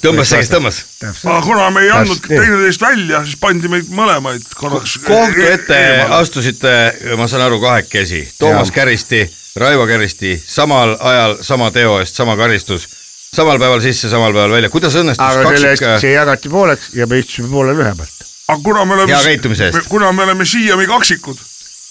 Speaker 4: tõmbas see , kes tõmbas .
Speaker 5: tõmbas .
Speaker 6: aga kuna me ei
Speaker 5: Täpselt
Speaker 6: andnud
Speaker 5: nii.
Speaker 6: teineteist välja , siis pandi meid mõlemaid korraks e-,
Speaker 4: kohtu ette astusite , ma saan aru , kahekesi , Toomas
Speaker 5: Jaa.
Speaker 4: Käristi , Raivo Käristi , samal ajal sama teo eest sama karistus , samal päeval sisse , samal päeval välja , kuidas õnnestus
Speaker 5: aga selle eest
Speaker 4: kaksik ,
Speaker 5: see jagati pooleks ja me istusime poole lühe pealt .
Speaker 6: aga kuna me oleme
Speaker 4: Hea käitumise eest. ,
Speaker 6: kuna me oleme siiani kaksikud ,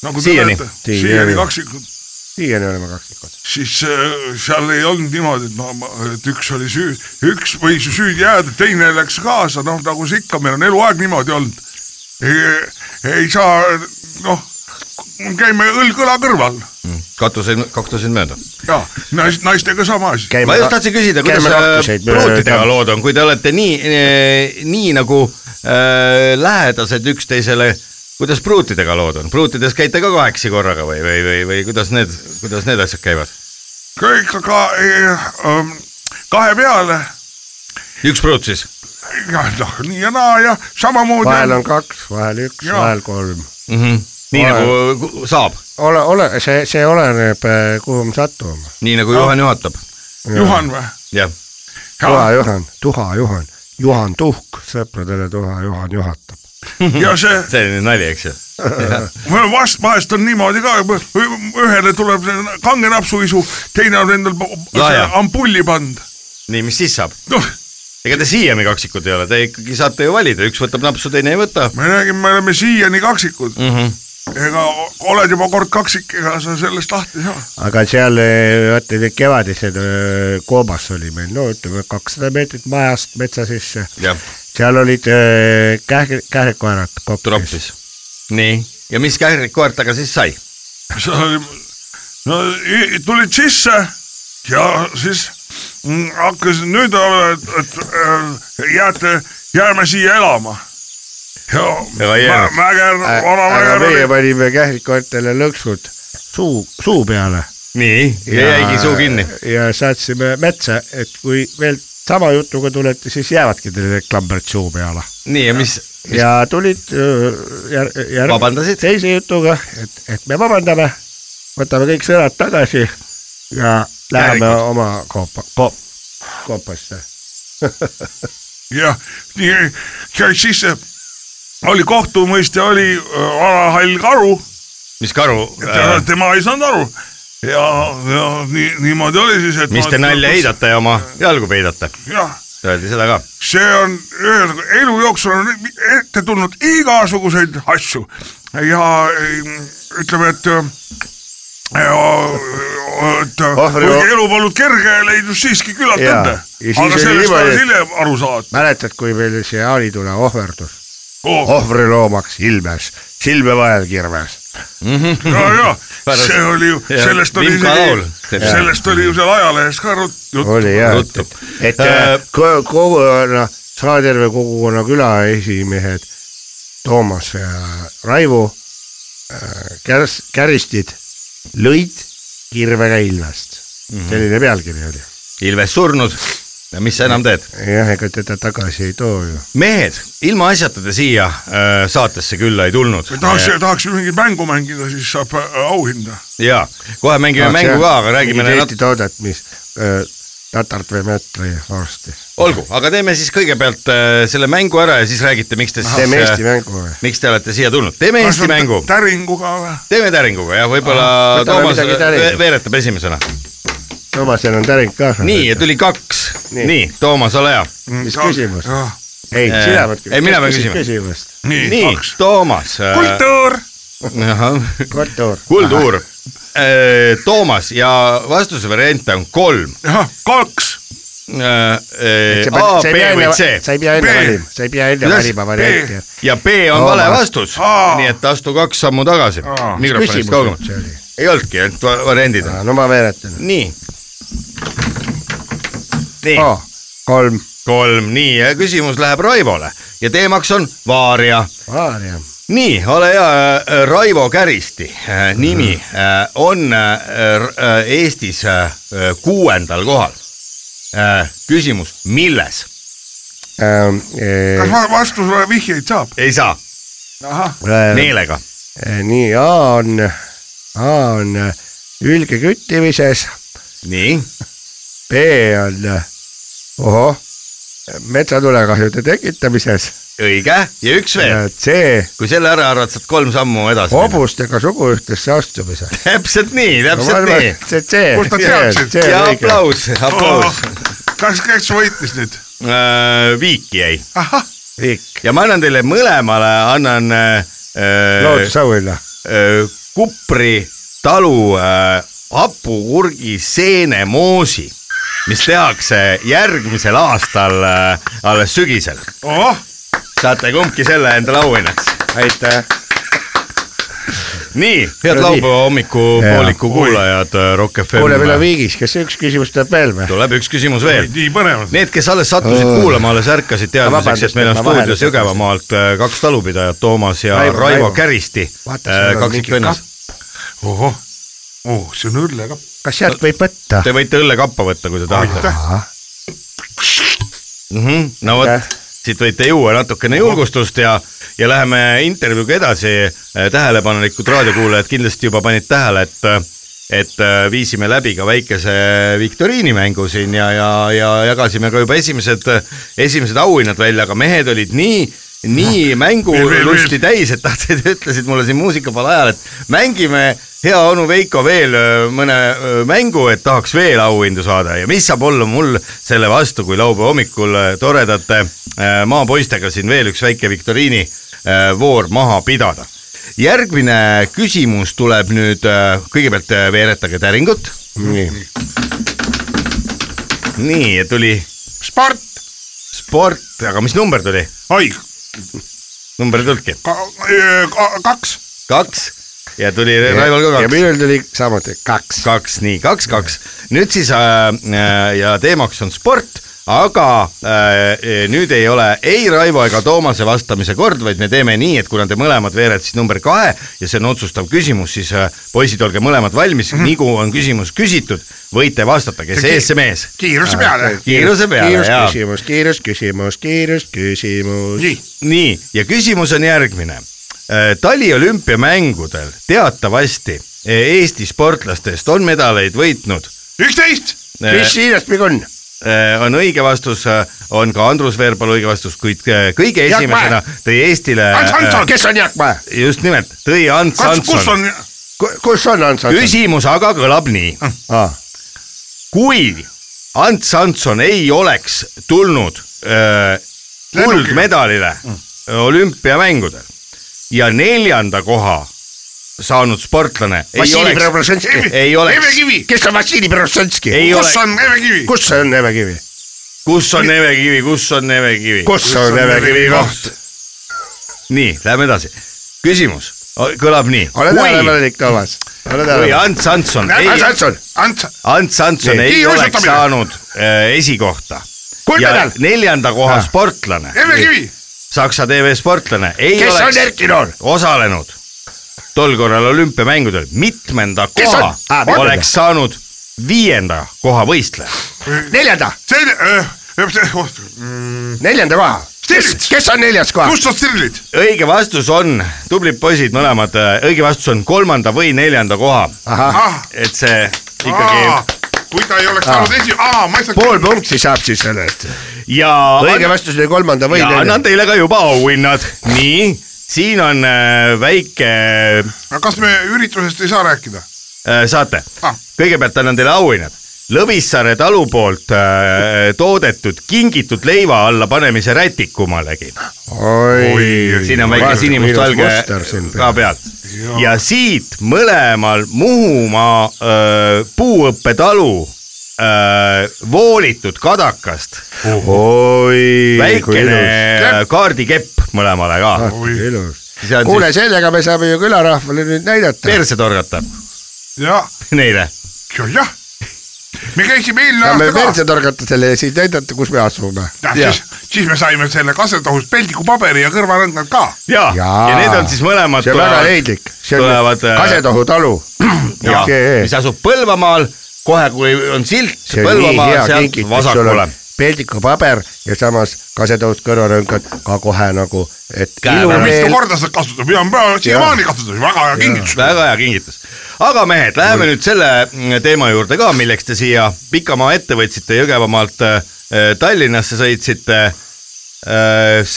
Speaker 6: nagu te
Speaker 4: Siiani.
Speaker 6: teate ,
Speaker 5: Siiani.
Speaker 6: siiani kaksikud ,
Speaker 5: siiani oleme kaksikud .
Speaker 6: siis äh, seal ei olnud niimoodi , et no , et üks oli süü- , üks võis ju süüdi jääda , teine läks kaasa , noh nagu see ikka meil on eluaeg niimoodi olnud . ei saa , noh , käime õlg õla kõrval
Speaker 4: kattusin , kattusin mööda .
Speaker 6: ja nais- naistega sama asi .
Speaker 4: ma just tahtsin küsida , kuidas äh, pruutidega lood on , kui te olete nii , nii nagu äh, lähedased üksteisele , kuidas pruutidega lood on , pruutides käite ka kahekesi korraga või , või , või , või kuidas need , kuidas need asjad käivad ?
Speaker 6: kõik aga äh, kahe peale ,
Speaker 4: üks pruut siis
Speaker 6: noh nii ja naa ja samamoodi .
Speaker 5: vahel on kaks , vahel üks ,
Speaker 6: Jaa.
Speaker 5: vahel kolm .
Speaker 4: mm ? -hmm. nii
Speaker 5: Vahel.
Speaker 4: nagu ku- saab
Speaker 5: ole , ole , see , see oleneb , kuhu me satume .
Speaker 4: nii nagu Juhan juhatab .
Speaker 6: Juhan või ?
Speaker 4: jah ,
Speaker 5: Tuha Juhan , Tuha Juhan , Juhan Tuhk , sõpradele Tuha Juhan juhatab .
Speaker 6: ja see ,
Speaker 4: selline nali , eks ju .
Speaker 6: mul vast vahest on niimoodi ka , ühele tuleb see kange napsuisu , teine on endal po-
Speaker 4: Lahja.
Speaker 6: see ampulli pannud .
Speaker 4: nii , mis siis saab ?
Speaker 6: noh ,
Speaker 4: ega te siiani kaksikud ei ole , te ikkagi saate ju valida , üks võtab napsu , teine ei võta .
Speaker 6: me räägime , me oleme siiani kaksikud mm .
Speaker 5: Mhm.
Speaker 6: -hmm. ega oled juba kord kaksik , ega sa sellest lahti ei saa .
Speaker 5: aga seal , vaata need kevadised öö, koobas oli meil , no ütleme kakssada meetrit majast metsa sisse .
Speaker 4: jah ,
Speaker 5: seal olid äh, kähk- , kährikoerad kokku .
Speaker 4: trompis . nii , ja mis kährik koert aga siis sai ?
Speaker 6: seal oli , no i- tulid sisse ja siis mm, hakkas nüüd , et, et äh, jääte , jääme siia elama . ja
Speaker 4: Ega ei jäänud.
Speaker 6: Mäger , vana
Speaker 5: aga
Speaker 6: Mäger
Speaker 5: meie
Speaker 6: oli ,
Speaker 5: panime kährikoertele lõksud suu , suu peale .
Speaker 4: nii , ja jäigi suu kinni .
Speaker 5: ja saatsime metsa , et kui veel sama jutuga tulete , siis jäävadki teile klambrid suu peale .
Speaker 4: nii , ja mis ,
Speaker 5: ja tulid öö, jär, jär,
Speaker 4: Vabandasid?
Speaker 5: teise jutuga , et , et me vabandame , võtame kõik sõnad tagasi ja läheme
Speaker 4: Järgmine.
Speaker 5: oma koopa , koop , koopasse .
Speaker 6: jah , nii käis sisse , oli kohtumõistja , oli äh, vana hall karu ,
Speaker 4: mis karu , äh,
Speaker 6: tema ei saanud aru ja , ja nii niimoodi oli siis , et .
Speaker 4: mis te nalja ? heidate ja oma jalgu peidate ?
Speaker 6: jah
Speaker 4: Öeldi seda ka .
Speaker 6: see on ühesõnaga elu jooksul on ette tulnud igasuguseid asju ja eh, ütleme , et eh, et
Speaker 5: Ohvri-
Speaker 6: kuigi elu polnud kerge , leidus siiski küllalt
Speaker 5: Jaa.
Speaker 6: õnne
Speaker 5: Ja . siis
Speaker 6: aga
Speaker 5: oli
Speaker 6: sellest
Speaker 5: niimoodi,
Speaker 6: alles
Speaker 5: et-
Speaker 6: hiljem aru saad
Speaker 5: mäletad , kui meil see jaanitule ohverdus ,
Speaker 6: oh, .
Speaker 5: ohvriloomaks ilmes , silme vahel kirves .
Speaker 6: ja , ja
Speaker 4: Pärast-
Speaker 6: see oli ju ,
Speaker 4: ja,
Speaker 6: sellest oli
Speaker 4: Vimka laul.
Speaker 6: isegi , sellest oli ju seal ajalehes ka rut- juttu .
Speaker 5: oli jah ,
Speaker 4: Ruttu.
Speaker 5: et , et äh, ko- kogukonna , Saarjärve kogukonna külaesimehed Toomas ja Raivo äh, kärs- , käristid lõid kirvega ilmest mm .
Speaker 4: Mhm.
Speaker 5: -hmm. selline pealkiri oli .
Speaker 4: Ilves surnud ja mis sa enam teed ?
Speaker 5: jah , ega teda tagasi ei too ju .
Speaker 4: mehed , ilma asjata te siia äh, saatesse külla ei tulnud .
Speaker 6: tahaks , tahaks mingit mängu mängida , siis saab äh, auhinda .
Speaker 4: ja kohe mängime mängu ka , aga räägime
Speaker 5: nüüd .
Speaker 4: nat-
Speaker 5: Eesti toodet , mis äh, tatart või metri varsti .
Speaker 4: olgu , aga teeme siis kõigepealt äh, selle mängu ära ja siis räägite , miks te
Speaker 5: teeme
Speaker 4: siis äh,
Speaker 5: Eesti , mängu või ?
Speaker 4: miks te olete siia tulnud , teeme Eesti mängu ,
Speaker 6: täringuga või ?
Speaker 4: teeme täringuga ja võib-olla
Speaker 5: Võtame
Speaker 4: Toomas
Speaker 5: midagi
Speaker 4: ve-
Speaker 5: täringu.
Speaker 4: veeretab esimesena .
Speaker 5: Toomasel on täring ka .
Speaker 4: nii , ja tuli kaks ,
Speaker 5: Nii.
Speaker 4: nii , Toomas , ole hea .
Speaker 5: mis küsimus ?
Speaker 6: jah ,
Speaker 5: ei ,
Speaker 4: Äh,
Speaker 5: sina pead
Speaker 4: ei, mina pean küsima.
Speaker 5: küsimust .
Speaker 6: nii, nii. ,
Speaker 4: nii
Speaker 6: kaks ,.
Speaker 4: Toomas , äh,
Speaker 6: kultuur
Speaker 5: kultuur .
Speaker 4: kultuur . Äh, Toomas ja vastusevariante on kolm .
Speaker 6: jah , kaks ,
Speaker 4: A , B või
Speaker 5: sa
Speaker 4: C
Speaker 5: ei pea enne
Speaker 6: B.
Speaker 5: valima , sa ei pea enne
Speaker 4: Kuidas?
Speaker 5: valima varianti .
Speaker 4: ja B on
Speaker 5: Toomas.
Speaker 4: vale vastus
Speaker 6: Aa. ,
Speaker 4: nii et astu kaks sammu tagasi
Speaker 6: Aa.
Speaker 4: mikrofonist
Speaker 5: Mis küsimus see
Speaker 4: kaugemale
Speaker 5: oli? .
Speaker 4: ei olnudki , ainult va- variandid on .
Speaker 5: no ma veeretan .
Speaker 4: nii . nii ,
Speaker 5: kolm ,
Speaker 4: kolm , nii ja küsimus läheb Raivole ja teemaks on vaaria
Speaker 5: Aaria ,
Speaker 4: nii , ole hea , Raivo Käristi äh, nimi äh, on äh, r- äh, Eestis äh, äh, kuuendal kohal . küsimus , milles ?
Speaker 5: Ähm, eh,
Speaker 6: kas va- vastus vihjeid saab ?
Speaker 4: ei saa ,
Speaker 6: ahah ,
Speaker 4: meelega .
Speaker 5: äh, eh, nii A on , A on äh, ülgeküttimises ,
Speaker 4: nii ,
Speaker 5: B on , ohoh , metsatulekahjude tekitamises
Speaker 4: õige ja üks veel ,
Speaker 5: ja C
Speaker 4: kui selle ära arvad , saad kolm sammu edasi .
Speaker 5: hobustega suguühtesse astumises .
Speaker 4: täpselt nii , täpselt nii .
Speaker 5: see C ,
Speaker 6: Kust nad teadsid?
Speaker 5: C
Speaker 4: ja
Speaker 5: õige ,
Speaker 4: aplaus ,
Speaker 6: Oh.
Speaker 4: aplaus .
Speaker 6: kas , kes võitis nüüd ?
Speaker 4: viiki jäi
Speaker 6: ahah ,
Speaker 5: Viik ,
Speaker 4: ja ma annan teile mõlemale , annan äh, äh,
Speaker 5: loodusauhinna ,
Speaker 4: Öö, Äh, Kupri talu äh, hapukurgi seenemoosi , mis tehakse järgmisel aastal äh, alles sügisel .
Speaker 6: oh ,
Speaker 4: saate kumbki selle endale auhinnaks .
Speaker 5: aitäh .
Speaker 4: nii , head
Speaker 5: No nii.
Speaker 4: laupäeva hommikupooliku
Speaker 6: Jaa.
Speaker 4: kuulajad äh, Rock
Speaker 5: kuule , meil on
Speaker 4: FM-i .
Speaker 5: viigis , kas üks küsimus tuleb veel või ?
Speaker 4: tuleb üks küsimus veel .
Speaker 6: nii põnevad .
Speaker 4: Need , kes alles sattusid
Speaker 5: Oh.
Speaker 4: kuulama , alles ärkasid teadmiseks ,
Speaker 5: Vabandust,
Speaker 4: et meil on
Speaker 5: et ma vahele
Speaker 4: stuudios
Speaker 5: sekkusin.
Speaker 4: Jõgevamaalt äh, kaks talupidajat , Toomas ja Raivo,
Speaker 5: Raivo,
Speaker 4: Raivo. Äh,
Speaker 5: Raivo.
Speaker 4: Käristi ,
Speaker 5: Vaata, seal on mingi
Speaker 4: kaksikvennad .
Speaker 6: ohoh , oh , see on õllekapp .
Speaker 5: kas sealt võib võtta ?
Speaker 4: Te võite õllekappa võtta , kui te tahate . mm . -hmm. no
Speaker 5: Aitäh.
Speaker 4: vot , siit võite juua natukene julgustust ja , ja läheme intervjuuga edasi . tähelepanelikud raadiokuulajad kindlasti juba panid tähele , et , et äh, viisime läbi ka väikese viktoriinimängu siin ja , ja , ja jagasime ka juba esimesed , esimesed auhinnad välja , aga mehed olid nii nii
Speaker 6: veel,
Speaker 4: mängulusti täis , et tahtsid , ütlesid mulle siin muusikapala ajal , et mängime hea onu Veiko veel öö, mõne öö, mängu , et tahaks veel auhindu saada ja mis saab olla mul selle vastu , kui laupäeva hommikul öö, toredate öö, maapoistega siin veel üks väike viktoriini öö, voor maha pidada . järgmine küsimus tuleb nüüd , kõigepealt öö, veeretage täringut .
Speaker 5: nii ,
Speaker 4: nii , tuli
Speaker 6: sport ,
Speaker 4: sport , aga mis number tuli ?
Speaker 6: ai ,
Speaker 4: number ei tulnudki ,
Speaker 6: kaks ,
Speaker 4: kaks ja tuli Raival ka
Speaker 5: ja
Speaker 4: kaks .
Speaker 5: minul tuli samuti kaks .
Speaker 4: kaks , nii kaks , kaks . nüüd siis äh, äh, ja teemaks on sport , aga äh, nüüd ei ole ei Raivo ega Toomase vastamise kord , vaid me teeme nii , et kuna te mõlemad veeretasid number kahe ja see on otsustav küsimus , siis äh, poisid , olge mõlemad valmis mm , -hmm. nii kui on küsimus küsitud , võite vastata , kes ees , see mees .
Speaker 6: kiiruse peale .
Speaker 4: kiiruse peale ja
Speaker 5: kiirusküsimus , kiirusküsimus , kiirusküsimus .
Speaker 6: nii ,
Speaker 4: nii , ja küsimus on järgmine . taliolümpiamängudel teatavasti eh, Eesti sportlastest on medaleid võitnud
Speaker 6: üksteist ,
Speaker 4: eh,
Speaker 5: Kristiina Spigun ,
Speaker 4: Äh, on õige vastus , on ka Andrus Veerpalu õige vastus , kuid äh, kõige
Speaker 5: Jaak
Speaker 4: esimesena tõi Eestile
Speaker 6: Ants Hansson.
Speaker 4: äh,
Speaker 5: kes on Jaak Mäe ?
Speaker 4: just nimelt , tõi Ants
Speaker 6: kas , kus
Speaker 4: Hansson .
Speaker 6: on ,
Speaker 5: kus on Ants Hansson ?
Speaker 4: küsimus aga kõlab nii , kui Ants Hansson ei oleks tulnud äh, kuldmedalile olümpiamängudel ja neljanda koha saanud sportlane ei
Speaker 5: Vassili
Speaker 4: oleks ,
Speaker 5: Preobrazhenski ,
Speaker 4: ei
Speaker 6: Eve
Speaker 4: oleks ,
Speaker 6: Kivi ,
Speaker 5: kes on Vassili Preobrazhenski ?
Speaker 4: ei
Speaker 6: kus
Speaker 4: ole ,
Speaker 6: on Eve Kivi ?
Speaker 5: kus on Eve Kivi ?
Speaker 4: kus on Eve Kivi , kus on Eve Kivi ?
Speaker 5: kus on Eve Kivi koht ??
Speaker 4: nii , lähme edasi . küsimus o- kõlab nii .
Speaker 5: ole
Speaker 4: kui ,
Speaker 5: tähelepanelik , Toomas . ole
Speaker 4: kui
Speaker 5: tähelepanelik .
Speaker 4: Ants Hansson ei ,
Speaker 5: Ants Hansson ,
Speaker 6: Ants ,
Speaker 4: Ants Hansson
Speaker 5: Nii.
Speaker 4: ei
Speaker 6: Kiire
Speaker 4: oleks
Speaker 6: uisutamine.
Speaker 4: saanud äh, esikohta . ja
Speaker 5: Kuldmedal.
Speaker 4: neljanda koha
Speaker 5: Ah.
Speaker 4: sportlane ,
Speaker 6: Eve Kivi ,
Speaker 4: Saksa TV sportlane ei
Speaker 5: kes on
Speaker 4: oleks
Speaker 5: Erki Noor ?
Speaker 4: osalenud tol korral olümpiamängudel , mitmenda
Speaker 5: Kes
Speaker 4: koha
Speaker 5: on? Ah, Aa, mitmenda.
Speaker 4: oleks saanud viienda koha võistleja .
Speaker 5: neljanda ,
Speaker 6: see on ,
Speaker 5: neljanda koha . kes , kes on neljas
Speaker 4: Ah.
Speaker 5: koha ?
Speaker 6: kus on Stirlid ?
Speaker 4: õige vastus on , tublid poisid mõlemad , õige vastus on kolmanda või neljanda koha ,
Speaker 5: ahah ,
Speaker 6: ah ,
Speaker 4: et see ikkagi Ah.
Speaker 6: aa , kui ta ei oleks saanud esi- , aa , ma ei saa .
Speaker 5: pool punkti saab siis sellelt .
Speaker 4: ja
Speaker 5: õige vastus oli kolmanda või
Speaker 4: ja annan
Speaker 5: neljanda .
Speaker 4: teile ka juba auhinnad . nii , siin on äh, väike
Speaker 6: aga kas me üritusest ei saa rääkida ?
Speaker 4: äh, saate
Speaker 6: Ah. .
Speaker 4: kõigepealt annan teile auhinnad . Lõvissaare talu poolt äh, toodetud kingitud leiva alla panemise rätikumalegi .
Speaker 5: oi
Speaker 4: siin on väike sinimustvalge ka peal .
Speaker 6: Jaa.
Speaker 4: ja siit mõlemal Muhumaa öö, puuõppetalu öö, voolitud kadakast
Speaker 5: oi , kui ilus ,
Speaker 4: väikene kaardikepp mõlemale ka .
Speaker 5: kui ilus .
Speaker 4: see on
Speaker 5: Ah, kuule ,
Speaker 4: siis
Speaker 5: sellega me saame ju külarahvale nüüd näidata .
Speaker 4: perse torgata
Speaker 6: jah ,
Speaker 4: neile .
Speaker 6: jah . me käisime eelmine
Speaker 5: saame
Speaker 6: aasta
Speaker 5: perse torgata selle ja siis näidata , kus me asume .
Speaker 6: ka , siis , siis me saime selle kasetohust pelgikupaberi ja kõrvarõngad ka .
Speaker 4: ja ,
Speaker 5: Jaa.
Speaker 4: ja need on siis mõlemad
Speaker 5: see on väga
Speaker 4: tulevad ,
Speaker 5: leidlik , see on
Speaker 4: tulevad, äh,
Speaker 5: Kasetohu talu .
Speaker 4: mis asub Põlvamaal , kohe kui on silt
Speaker 5: see on nii
Speaker 4: Põlvamaal
Speaker 5: hea
Speaker 4: sealt
Speaker 5: kingitus , sul
Speaker 4: vasakule
Speaker 5: on . peldikupaber ja samas kasetohut kõrvarõngad ka kohe nagu , et
Speaker 4: Käe
Speaker 5: ilu
Speaker 4: peal.
Speaker 5: veel
Speaker 6: mitu . korda sa kasutad , mina ma siiamaani kasutan , väga hea kingitus .
Speaker 4: väga hea kingitus . aga mehed , läheme nüüd selle mm, teema juurde ka , milleks te siia pikamaa ette võtsite , Jõgevamaalt äh, Tallinnasse sõitsite .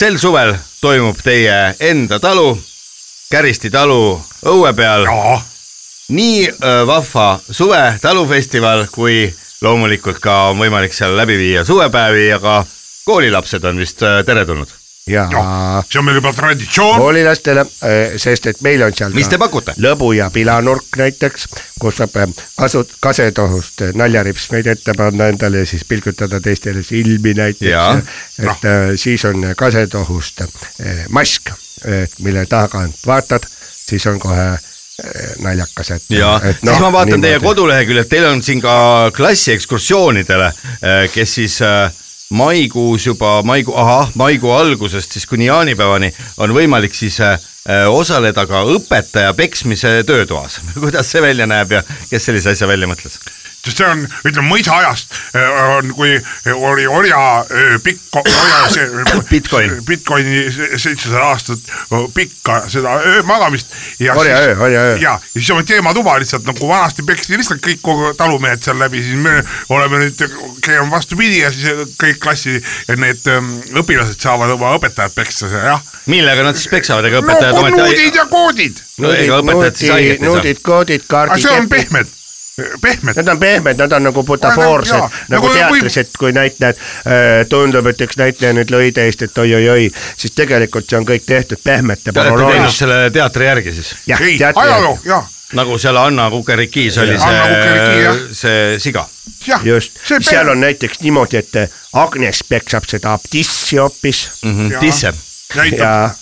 Speaker 4: sel suvel toimub teie enda talu , Käristi talu õue peal ,
Speaker 6: jaa ,
Speaker 4: nii äh, vahva suve talufestival , kui loomulikult ka on võimalik seal läbi viia suvepäevi ja ka koolilapsed on vist äh, teretulnud .
Speaker 5: jaa ,
Speaker 6: see on meil juba traditsioon .
Speaker 5: koolilastele , sest et meil on seal
Speaker 4: mis te
Speaker 5: ka
Speaker 4: pakute ?
Speaker 5: lõbu ja pilanurk näiteks , kus saab äh, kasut- , kasetohust äh, naljarips meid ette panna endale ja siis pilgutada teistele silmi
Speaker 4: Jaa.
Speaker 5: näiteks . et äh, siis on kasetohust äh, mask , mille tagant vaatad , siis on kohe äh, naljakas , et . noh,
Speaker 4: ja no, siis ma vaatan noh, niimoodi. teie koduleheküljelt , teil on siin ka klassiekskursioonidele , kes siis äh, maikuus juba maikuu , ahah , maikuu algusest siis kuni jaanipäevani on võimalik siis äh, äh, osaleda ka õpetaja peksmise töötoas . kuidas see välja näeb ja kes sellise asja välja mõtles ?
Speaker 6: sest see on , ütleme mõisaajast äh, on , kui oli orja äh, pikk , orja see äh,
Speaker 4: Bitcoin.
Speaker 6: Bitcoini se- seitsesada aastat äh, pikka seda öö magamist .
Speaker 5: Orjaöö, orjaöö.
Speaker 6: ja ja siis on teematuba lihtsalt nagu vanasti peksti lihtsalt kõik kogu talumehed seal läbi , siis me oleme nüüd , käime vastupidi ja siis kõik klassi need ähm, õpilased saavad oma õpetajat peksta seal jah .
Speaker 4: millega nad siis peksavad , ega
Speaker 6: no
Speaker 4: õpetajad
Speaker 6: kui
Speaker 4: ometi
Speaker 6: nuudid ja koodid ,
Speaker 4: no ega õpetajad siis haiget ei saa .
Speaker 5: nuudid , koodid ,
Speaker 6: aga
Speaker 5: kaardid .
Speaker 6: see on pehmed , pehmed .
Speaker 5: Nad on pehmed , nad on nagu butafoorsed
Speaker 6: Aga jaa, ,
Speaker 5: nagu
Speaker 6: nagu
Speaker 5: teatris ,
Speaker 6: võib-
Speaker 5: et kui näitleja , tundub , et üks näitleja nüüd lõi teist , et oi-oi-oi , siis tegelikult see on kõik tehtud pehmete
Speaker 4: Te olete teinud
Speaker 5: paroloolis .
Speaker 4: selle teatri järgi siis ?
Speaker 5: jah ,
Speaker 6: ei ,
Speaker 5: teatri
Speaker 6: ajaloo , jah ,
Speaker 4: nagu seal Anna Kukerikis oli
Speaker 6: Jaa, Anna Kukeriki,
Speaker 4: see
Speaker 6: jah. ,
Speaker 4: see siga .
Speaker 6: jah .
Speaker 5: just , seal on näiteks niimoodi , et äh, Agnes peksab seda abtissi hoopis
Speaker 6: Jaa.
Speaker 4: Mhm. Tisse .
Speaker 6: näitab ,
Speaker 5: ja ,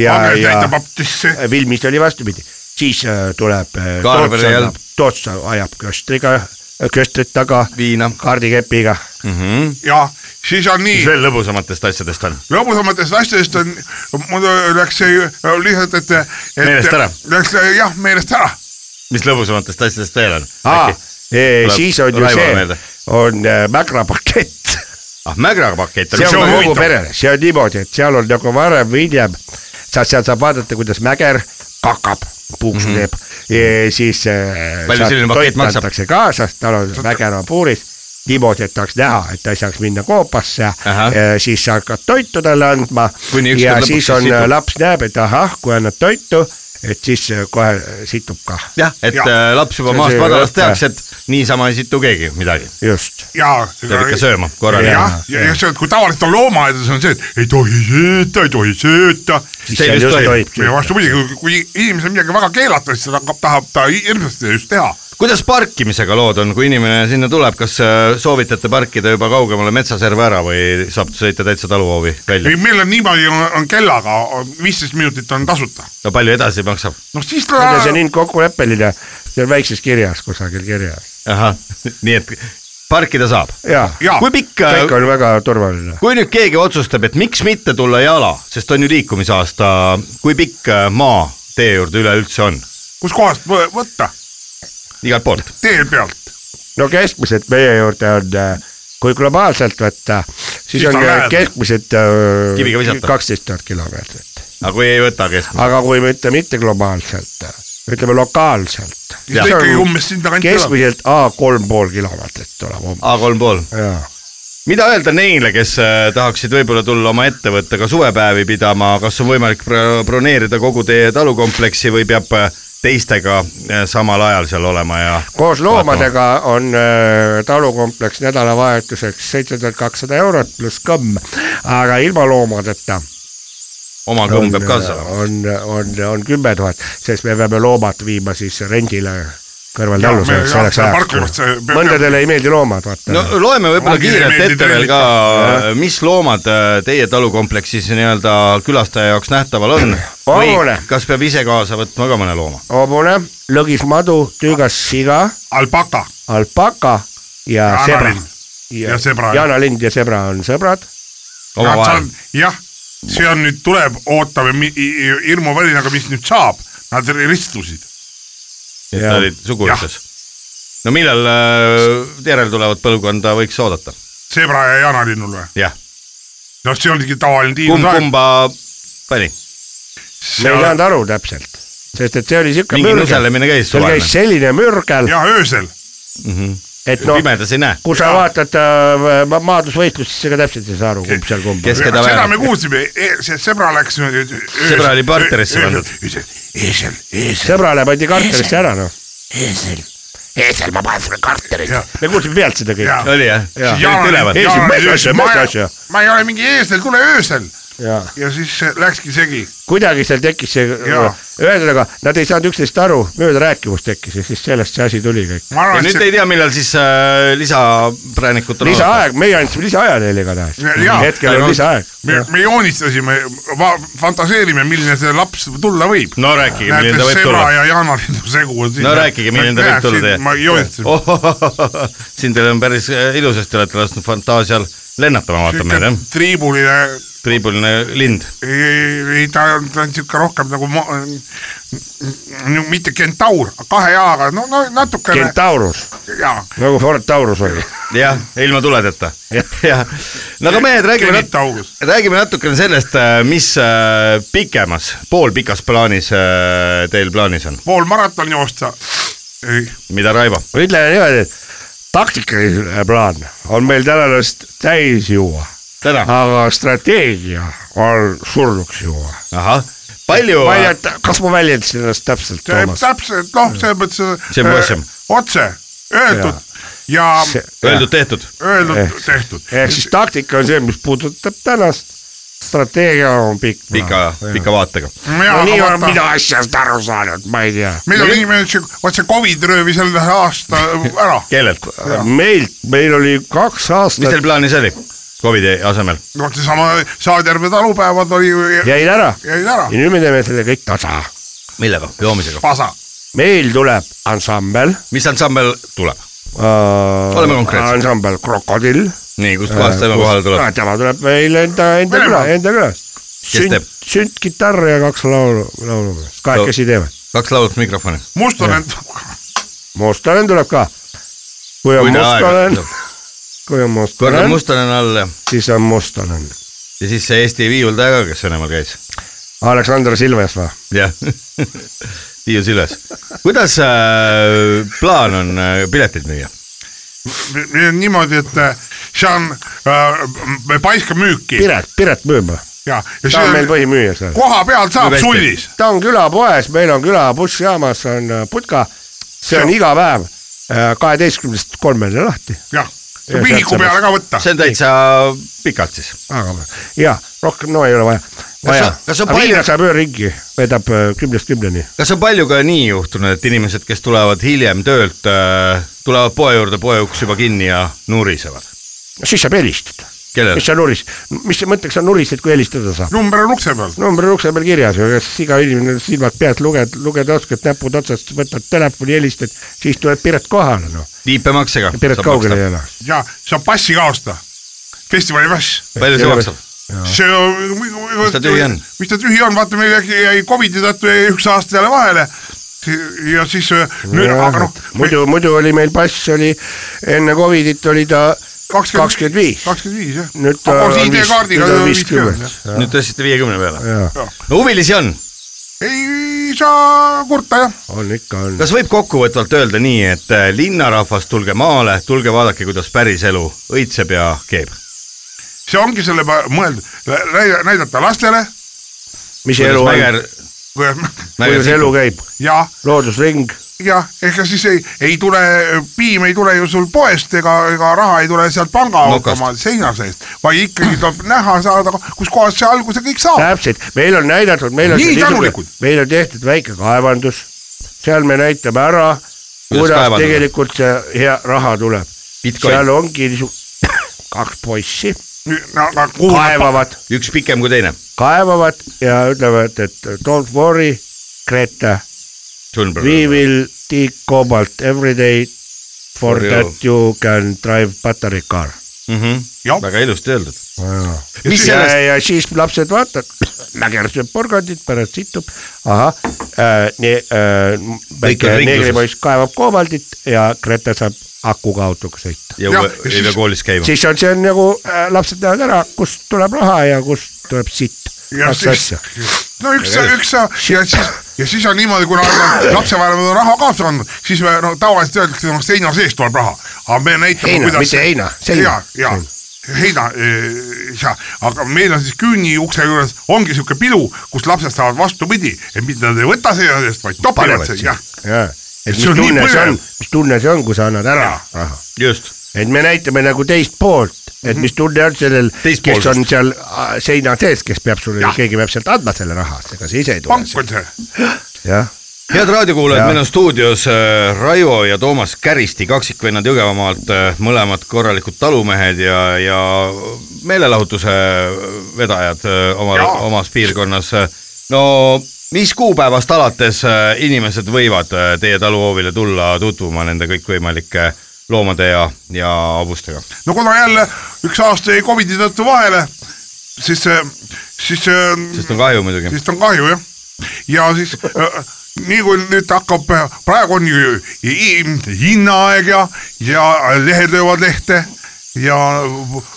Speaker 5: ja ,
Speaker 6: Agnes
Speaker 5: ja
Speaker 6: näitab baptisse ,
Speaker 5: filmis oli vastupidi , siis äh, tuleb äh,
Speaker 4: Kaarel
Speaker 5: Toots
Speaker 4: Jälp.
Speaker 5: annab- Toots ajab köstriga , köstrit taga ,
Speaker 4: viina .
Speaker 5: kaardikepiga ,
Speaker 6: ja siis on nii
Speaker 4: mis , veel lõbusamatest asjadest on ?
Speaker 6: lõbusamatest asjadest on , mul läks see ju- äh, lihtsalt , et, et .
Speaker 4: Meelest ära.
Speaker 6: Läks äh, jah , meelest ära .
Speaker 4: mis lõbusamatest asjadest veel on ?
Speaker 5: aa , Ah, siis on ju
Speaker 4: Raivole
Speaker 5: see
Speaker 4: meelde. ,
Speaker 5: on äh, mägrapakett
Speaker 4: ah , mägrapakett on .
Speaker 5: see on kogu
Speaker 4: huvitav.
Speaker 5: perele , see on niimoodi , et seal on nagu varem või hiljem , sa seal saab vaadata , kuidas mäger kakab , puuksu teeb mm , -hmm. siis
Speaker 4: Mhm. Palju selline pakett maksab?
Speaker 5: antakse kaasas , tal on mäger on puuris niimoodi , et tahaks näha , et ta ei saaks minna koopasse ,
Speaker 4: Ahah.
Speaker 5: siis sa hakkad toitu talle andma
Speaker 4: Kuni ükskord
Speaker 5: ja
Speaker 4: lõpuks
Speaker 5: siis
Speaker 4: siis
Speaker 5: on äh,
Speaker 4: situb. ,
Speaker 5: laps näeb , et ahah , kui annad toitu , et siis äh, kohe situb kah ,
Speaker 4: jah , et
Speaker 6: Jah.
Speaker 4: äh, laps juba
Speaker 5: See on
Speaker 4: maast
Speaker 5: see
Speaker 4: madalast
Speaker 5: õpe.
Speaker 4: teaks , et niisama ei situ keegi midagi .
Speaker 5: just .
Speaker 6: ja .
Speaker 4: peab ikka sööma korraga .
Speaker 6: jah , ja, ja see , kui tavaliselt on loomaaedades on see , et ei tohi sööta , ei tohi sööta .
Speaker 4: See just tohib.
Speaker 6: ja vastupidi , kui, kui inimesel midagi väga keelatud , siis ta hakkab , tahab ta hirmsasti just teha .
Speaker 4: kuidas parkimisega lood on , kui inimene sinna tuleb , kas äh, soovitate parkida juba kaugemale metsaserva ära või saab sõita täitsa taluhoovi välja
Speaker 6: ei ,? meil on niimoodi , on kellaga , viisteist minutit on tasuta .
Speaker 4: no palju edasi maksab ?
Speaker 6: noh , siis
Speaker 5: ja see
Speaker 6: ta
Speaker 5: on . nii kokkuleppeline , see on väikses kirjas kusagil kirjas
Speaker 4: ahah , nii et parkida saab .
Speaker 5: ja,
Speaker 6: Jaa.
Speaker 4: kui pikk ,
Speaker 5: kõik on väga turvaline .
Speaker 4: kui nüüd keegi otsustab , et miks mitte tulla jala , sest on ju liikumisaasta , kui pikk äh, maa tee juurde üleüldse on ?
Speaker 6: kuskohast võ- võtta ,
Speaker 4: igalt poolt .
Speaker 6: tee pealt .
Speaker 5: no keskmiselt meie juurde on , kui globaalselt võtta , siis
Speaker 6: Siis
Speaker 5: on
Speaker 6: on lähedal.
Speaker 5: keskmiselt
Speaker 4: Kiviga visata.
Speaker 5: kaksteist tuhat kilomeetrit .
Speaker 4: aga kui ei võta keskmist ,
Speaker 5: aga kui me ütleme mitte globaalselt , ütleme lokaalselt ,
Speaker 6: siis ta ikkagi umbes sinna kanti elab .
Speaker 5: keskmiselt A kolm pool kilomeetrit tuleb umbes .
Speaker 4: A3 pool .
Speaker 5: jaa ,
Speaker 4: mida öelda neile , kes äh, tahaksid võib-olla tulla oma ettevõttega suvepäevi pidama , kas on võimalik bro- broneerida kogu teie talukompleksi või peab äh, teistega äh, samal ajal seal olema ja
Speaker 5: koos loomadega on äh, talukompleks nädalavahetuseks seitse tuhat kakssada eurot pluss kõmm , aga ilma loomadeta
Speaker 4: oma kõmm peab kaasa .
Speaker 5: on , on , on kümme tuhat , sest me peame loomad viima siis rendile kõrvaltallusele , eks selleks ajaks . mõndadele ei meeldi loomad , vaata
Speaker 4: no
Speaker 5: no, .
Speaker 4: loeme võib-olla
Speaker 6: Ongi
Speaker 4: kiirelt
Speaker 6: meeldiv
Speaker 4: ette veel
Speaker 6: treenida.
Speaker 4: ka , mis loomad äh, teie talukompleksis nii-öelda külastaja jaoks nähtaval on või
Speaker 5: Vabune.
Speaker 4: kas peab ise kaasa võtma ka mõne looma ?
Speaker 5: hobune , lõgis madu , tüügas siga ,
Speaker 6: alpaka ,
Speaker 5: alpaka ja
Speaker 6: Ja
Speaker 5: sebra
Speaker 6: analind. . Ja sebra.
Speaker 5: jaanalind ja sebra on sõbrad .
Speaker 4: omavahel ,
Speaker 6: jah , see on nüüd tuleb , ootame mi- i- i- hirmuvälina , aga mis nüüd saab , nad ristusid .
Speaker 4: et
Speaker 5: jah.
Speaker 4: ta oli suguühtes . no millal äh, järeltulevat põlvkonda võiks oodata ?
Speaker 6: Zebra ja jaanalinnul või ?
Speaker 4: jah ,
Speaker 6: noh , see oligi tavaline
Speaker 4: kumb
Speaker 6: tiim .
Speaker 4: kumba pani ?
Speaker 5: me ei saanud aru täpselt , sest et see oli siuke
Speaker 4: mingi nuselemine käis
Speaker 5: seal
Speaker 4: suvel
Speaker 5: käis , selline mürgel ,
Speaker 6: jah , öösel .
Speaker 5: et noh ,
Speaker 4: pimedas ei näe .
Speaker 5: kui sa vaatad äh, ma- maadlusvõistlust , siis sa ka täpselt ei saa aru , kumb seal kumb on .
Speaker 4: Kes keda
Speaker 6: seda
Speaker 4: vajab?
Speaker 6: me kuulsime , see Zebra läks . e, Zebra
Speaker 4: Sõbra oli partnerisse
Speaker 6: e,
Speaker 4: pandud. .
Speaker 6: eesel , eesel .
Speaker 5: sõbrale pandi karterisse ära noh , me kuulsime pealt seda
Speaker 6: Jaa.
Speaker 5: kõike .
Speaker 4: oli jah ?
Speaker 5: Jaa.
Speaker 4: üleval ,
Speaker 5: Ei, siis mõtle asja, mõtle asja.
Speaker 6: ma ei ole mingi eesel , tule öösel .
Speaker 5: ja
Speaker 6: ja siis see läkski segi .
Speaker 5: kuidagi seal tekkis see ,
Speaker 6: Jaa.
Speaker 5: ühesõnaga nad ei saanud üksteisest aru , möödarääkivus tekkis ja siis sellest see asi tuli kõik .
Speaker 6: ma
Speaker 4: ja
Speaker 6: arvan , et
Speaker 4: nüüd
Speaker 6: see
Speaker 4: ei tea , millal siis äh, lisapräänikuid on
Speaker 5: lisaaeg , meie andsime lisaaja neile igatahes
Speaker 6: Ja- jaa. .
Speaker 5: hetkel on
Speaker 4: Ainult-
Speaker 5: lisaaeg .
Speaker 6: me , me joonistasime , fantaseerime , milline see laps tulla võib .
Speaker 4: no rääkige , milline ta
Speaker 6: näete ,
Speaker 4: võib
Speaker 6: Sebra
Speaker 4: tulla .
Speaker 6: ja Jaana Lindu segu on siin .
Speaker 4: no rääkige , milline ta võib tulla teie .
Speaker 6: ma joonistasin .
Speaker 4: Oh, siin teil on päris äh, ilusasti olete lasknud fantaasial lennata , ma vaatan meid jah .
Speaker 6: triibuline ,
Speaker 4: triibuline lind .
Speaker 6: ei ta on , ta on siuke rohkem nagu ma, n- mitte kentaur , kahe jaaga , no , no natukene .
Speaker 5: Kentaurus ,
Speaker 6: jaa ,
Speaker 5: nagu Ford Taurus oli .
Speaker 4: jah , ilma tuledeta . jah , no aga mehed , räägime nat-
Speaker 6: Genitaurus. ,
Speaker 4: räägime natukene sellest , mis äh, pikemas , poolpikas plaanis äh, teil plaanis on ,
Speaker 6: pool maraton joosta .
Speaker 4: mida Raivo ?
Speaker 5: ütleme niimoodi , et taktikaline plaan on meil tänasest täis juua ,
Speaker 4: täna ,
Speaker 5: aga strateegia on surnuks juua .
Speaker 4: ahah , palju
Speaker 5: ma ei tea , kas ma väljendasin ennast täpselt , Toomas ?
Speaker 6: täpselt , noh , selles mõttes .
Speaker 4: See on puhasem.
Speaker 6: otse öeldud ja, ja
Speaker 4: äh, öeldud-tehtud ,
Speaker 6: öeldud ,
Speaker 5: Ehk-
Speaker 6: tehtud .
Speaker 5: ehk siis taktika on see , mis puudutab tänast , strateegia on pikk .
Speaker 4: pika , pika vaatega .
Speaker 5: no nii olen mina asjast aru saanud , ma ei tea .
Speaker 6: meil on inimene , vaat see Covid röövis jälle aasta ära ,
Speaker 4: kellelt ,
Speaker 5: meilt , meil oli kaks
Speaker 4: mis teil
Speaker 5: aastat ,
Speaker 4: plaanis oli Covidi asemel ?
Speaker 6: vot seesama Saadjärve talupäevad oli ,
Speaker 5: jäid ära
Speaker 6: jäid ära
Speaker 5: ja , nüüd me teeme selle kõik tasa .
Speaker 4: millega ? joomisega .
Speaker 6: pasa .
Speaker 5: meil tuleb ansambel
Speaker 4: mis ansambel tuleb ?
Speaker 5: oleme
Speaker 4: konkreetsed.
Speaker 5: ansambel Krokodill .
Speaker 4: nii ,
Speaker 5: Äh,
Speaker 4: kustkohast tema kohale tuleb ?
Speaker 5: tema tuleb meil enda , enda küla
Speaker 6: Venemaalt. ,
Speaker 5: enda külas .
Speaker 4: teeb?
Speaker 5: sünt , süntkitarr ja kaks laulu , laulu , kahekesi teeme .
Speaker 4: kaks laulut mikrofoni .
Speaker 6: Mustonen ,
Speaker 5: Mustonen tuleb ka . kui on Mustonen , kui on
Speaker 4: kord on
Speaker 5: Mustonen ,
Speaker 4: mustonen all ja
Speaker 5: siis on Mustonen .
Speaker 4: ja siis see Eesti viiuldaja ka , kes Venemaal käis .
Speaker 5: Aleksandr Silves või ?
Speaker 4: jah , viius üles . kuidas äh, plaan on äh, pileteid müüa ?
Speaker 6: meil on niimoodi , et äh, see on äh, paiskamüüki
Speaker 5: Piret , Piret müüb või ?
Speaker 6: ja , ja
Speaker 5: ta on meil
Speaker 6: see on
Speaker 5: põhimüüja seal .
Speaker 6: koha peal saab
Speaker 4: Müüb hästi.
Speaker 6: sullis .
Speaker 5: ta on külapoes , meil on küla bussijaamas on äh, putka , see on
Speaker 6: Jah.
Speaker 5: iga päev äh, kaheteistkümnest kolmeni lahti ,
Speaker 6: jah ,
Speaker 5: Ja
Speaker 6: viiniku
Speaker 5: sealt
Speaker 6: peale ka võtta .
Speaker 4: see on täitsa pikalt siis .
Speaker 5: aga ja rohkem no ei ole vaja , vaja
Speaker 4: on- . kas on palju-
Speaker 5: Viina saab ööringi , vedab äh, kümnest kümneni .
Speaker 4: kas on palju ka nii juhtunud , et inimesed , kes tulevad hiljem töölt äh, , tulevad poe juurde , poe uks juba kinni ja nurisevad ?
Speaker 5: siis saab helistada ,
Speaker 4: kellel
Speaker 5: mis ? sa nuris , mis sa mõtteks on nurised , kui helistada saab ?
Speaker 6: number on ukse peal ,
Speaker 5: number on ukse peal kirjas ju , kas iga inimene silmad pealt luged , lugeda oskad , näpud otsast , võtad telefoni , helistad , siis tuleb Piret kohale noh ,
Speaker 4: viipemaksega .
Speaker 5: Piret kaugele ei . ela .
Speaker 6: ja saab passi ka osta , festivali pass .
Speaker 4: palju see maksab ?
Speaker 6: see on , mis
Speaker 4: ta tühi on?
Speaker 6: mis ta tühi on , vaata meil jäi- jäi Covidi tõttu jäi üks aasta jälle vahele ja siis äh, nüüd , aga noh ,
Speaker 5: muidu , muidu oli meil pass oli enne Covidit oli ta kakskümmend viis ,
Speaker 6: kakskümmend viis jah .
Speaker 5: nüüd ta
Speaker 6: koos
Speaker 5: on viis-
Speaker 6: ID-kaardiga
Speaker 5: nüüd on
Speaker 6: viiskümmend .
Speaker 5: viiskümmend .
Speaker 4: nüüd tõstsite viiekümne peale . no huvilisi on
Speaker 6: ei saa kurta jah ,
Speaker 5: on ikka on ,
Speaker 4: kas võib kokkuvõtvalt öelda nii , et äh, linnarahvas , tulge maale , tulge vaadake , kuidas päris elu õitseb ja keeb .
Speaker 6: see ongi selle pa- mõeldud , näidata lastele ,
Speaker 5: mis see
Speaker 4: kuidas
Speaker 5: elu on ,
Speaker 4: Mäger
Speaker 5: kuidas elu käib ,
Speaker 6: jah ,
Speaker 5: loodusring ,
Speaker 6: jah , ega siis ei , ei tule , piim ei tule ju sul poest ega , ega raha ei tule sealt pangaautomaadi seina seest , vaid ikkagi tuleb näha saada , kuskohast see alguse kõik saab .
Speaker 5: täpselt , meil on näidatud , meil on
Speaker 6: Nii tänulikud. ,
Speaker 5: meil on tehtud väike kaevandus , seal me näitame ära , kuidas
Speaker 4: kaevandada?
Speaker 5: tegelikult see hea raha tuleb . seal ongi niisugune kaks poissi , kaevavad ,
Speaker 4: üks pikem kui teine .
Speaker 5: kaevavad ja ütlevad , et don't worry , Greta , we will take cobalt every day for
Speaker 4: For you.
Speaker 5: that you can drive battery car .
Speaker 6: jah ,
Speaker 4: Mhm. väga ilusti öeldud .
Speaker 5: mis ja , ja siis lapsed vaatavad , mäger sööb porgandit , pärast situb , ahah äh, , nii äh, väike
Speaker 4: on ringluses.
Speaker 5: neegripoiss kaevab koobaldit ja Grete saab akuga autoga sõita .
Speaker 4: ja
Speaker 6: Jah,
Speaker 4: uue-
Speaker 6: ja
Speaker 4: ei pea
Speaker 6: siis-
Speaker 4: koolis käima .
Speaker 5: siis on see on nagu äh, lapsed näevad ära , kust tuleb raha ja kust tuleb sitt .
Speaker 6: ja
Speaker 5: kaks
Speaker 6: siis nagu
Speaker 5: asja .,
Speaker 6: no üks , üks ja siis , ja siis on niimoodi , kuna nad lapsevanemad on raha kaasa andnud , siis me no tavaliselt öeldakse , et noh, seina seest tuleb raha , aga me näitame ,
Speaker 5: Heina,
Speaker 6: kuidas .
Speaker 5: mitte heina, seina.
Speaker 6: ja , ja heina , ja , eh, aga meil on siis küüni ukse juures ongi niisugune pilu , kus lapsed saavad vastupidi , et mitte nad ei võta seina seest , vaid topivad
Speaker 4: Panevad
Speaker 6: sealt ,
Speaker 4: sinna.
Speaker 6: jah .
Speaker 5: et mis
Speaker 6: See on nii
Speaker 5: tunne see
Speaker 6: põnev.
Speaker 5: on , mis tunne see on , kui sa annad ära
Speaker 6: Jaa. Mhm.
Speaker 5: raha ,
Speaker 4: just .
Speaker 5: et me näitame nagu teist poolt et mis tunne on sellel , kes on
Speaker 4: Teistpoolsest.
Speaker 5: seal äh, seina sees , kes peab sulle
Speaker 6: Jah. ,
Speaker 5: keegi peab sealt andma selle raha , ega see ise ei tule
Speaker 6: pank . on see ,
Speaker 5: jah
Speaker 4: head raadiokuulajad ,
Speaker 5: Jaa.
Speaker 4: meil on stuudios äh, Raivo ja Toomas Käristi , kaksikvennad Jõgevamaalt , mõlemad korralikud talumehed ja , ja meelelahutuse vedajad äh, oma
Speaker 6: Jaa. ,
Speaker 4: omas piirkonnas . no mis kuupäevast alates äh, inimesed võivad äh, teie taluhoovile tulla tutvuma nende kõikvõimalike loomade ja , ja hobustega ?
Speaker 6: no kuna jälle üks aasta jäi Covidi tõttu vahele , siis , siis
Speaker 4: sest on kahju muidugi .
Speaker 6: sest on kahju jah . ja siis äh, nii kui nüüd hakkab , praegu on ju hi- hi- hinnaaeg ja , ja lehed löövad lehte ja äh,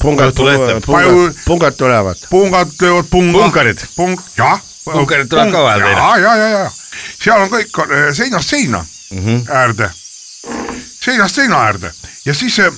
Speaker 5: pungad ,
Speaker 4: Õhtulehte.
Speaker 5: pungad,
Speaker 6: Paju-
Speaker 5: pungad, pungad tulevad .
Speaker 6: pungad löövad punga .
Speaker 4: Punkarid.
Speaker 6: pung- , jah .
Speaker 4: Punkarid tulevad ka vahel teile.
Speaker 6: ja , ja , ja , ja seal on kõik äh, seinast seina mm
Speaker 4: Mhm.
Speaker 6: -hmm. äärde , seinast seina äärde ja siis äh,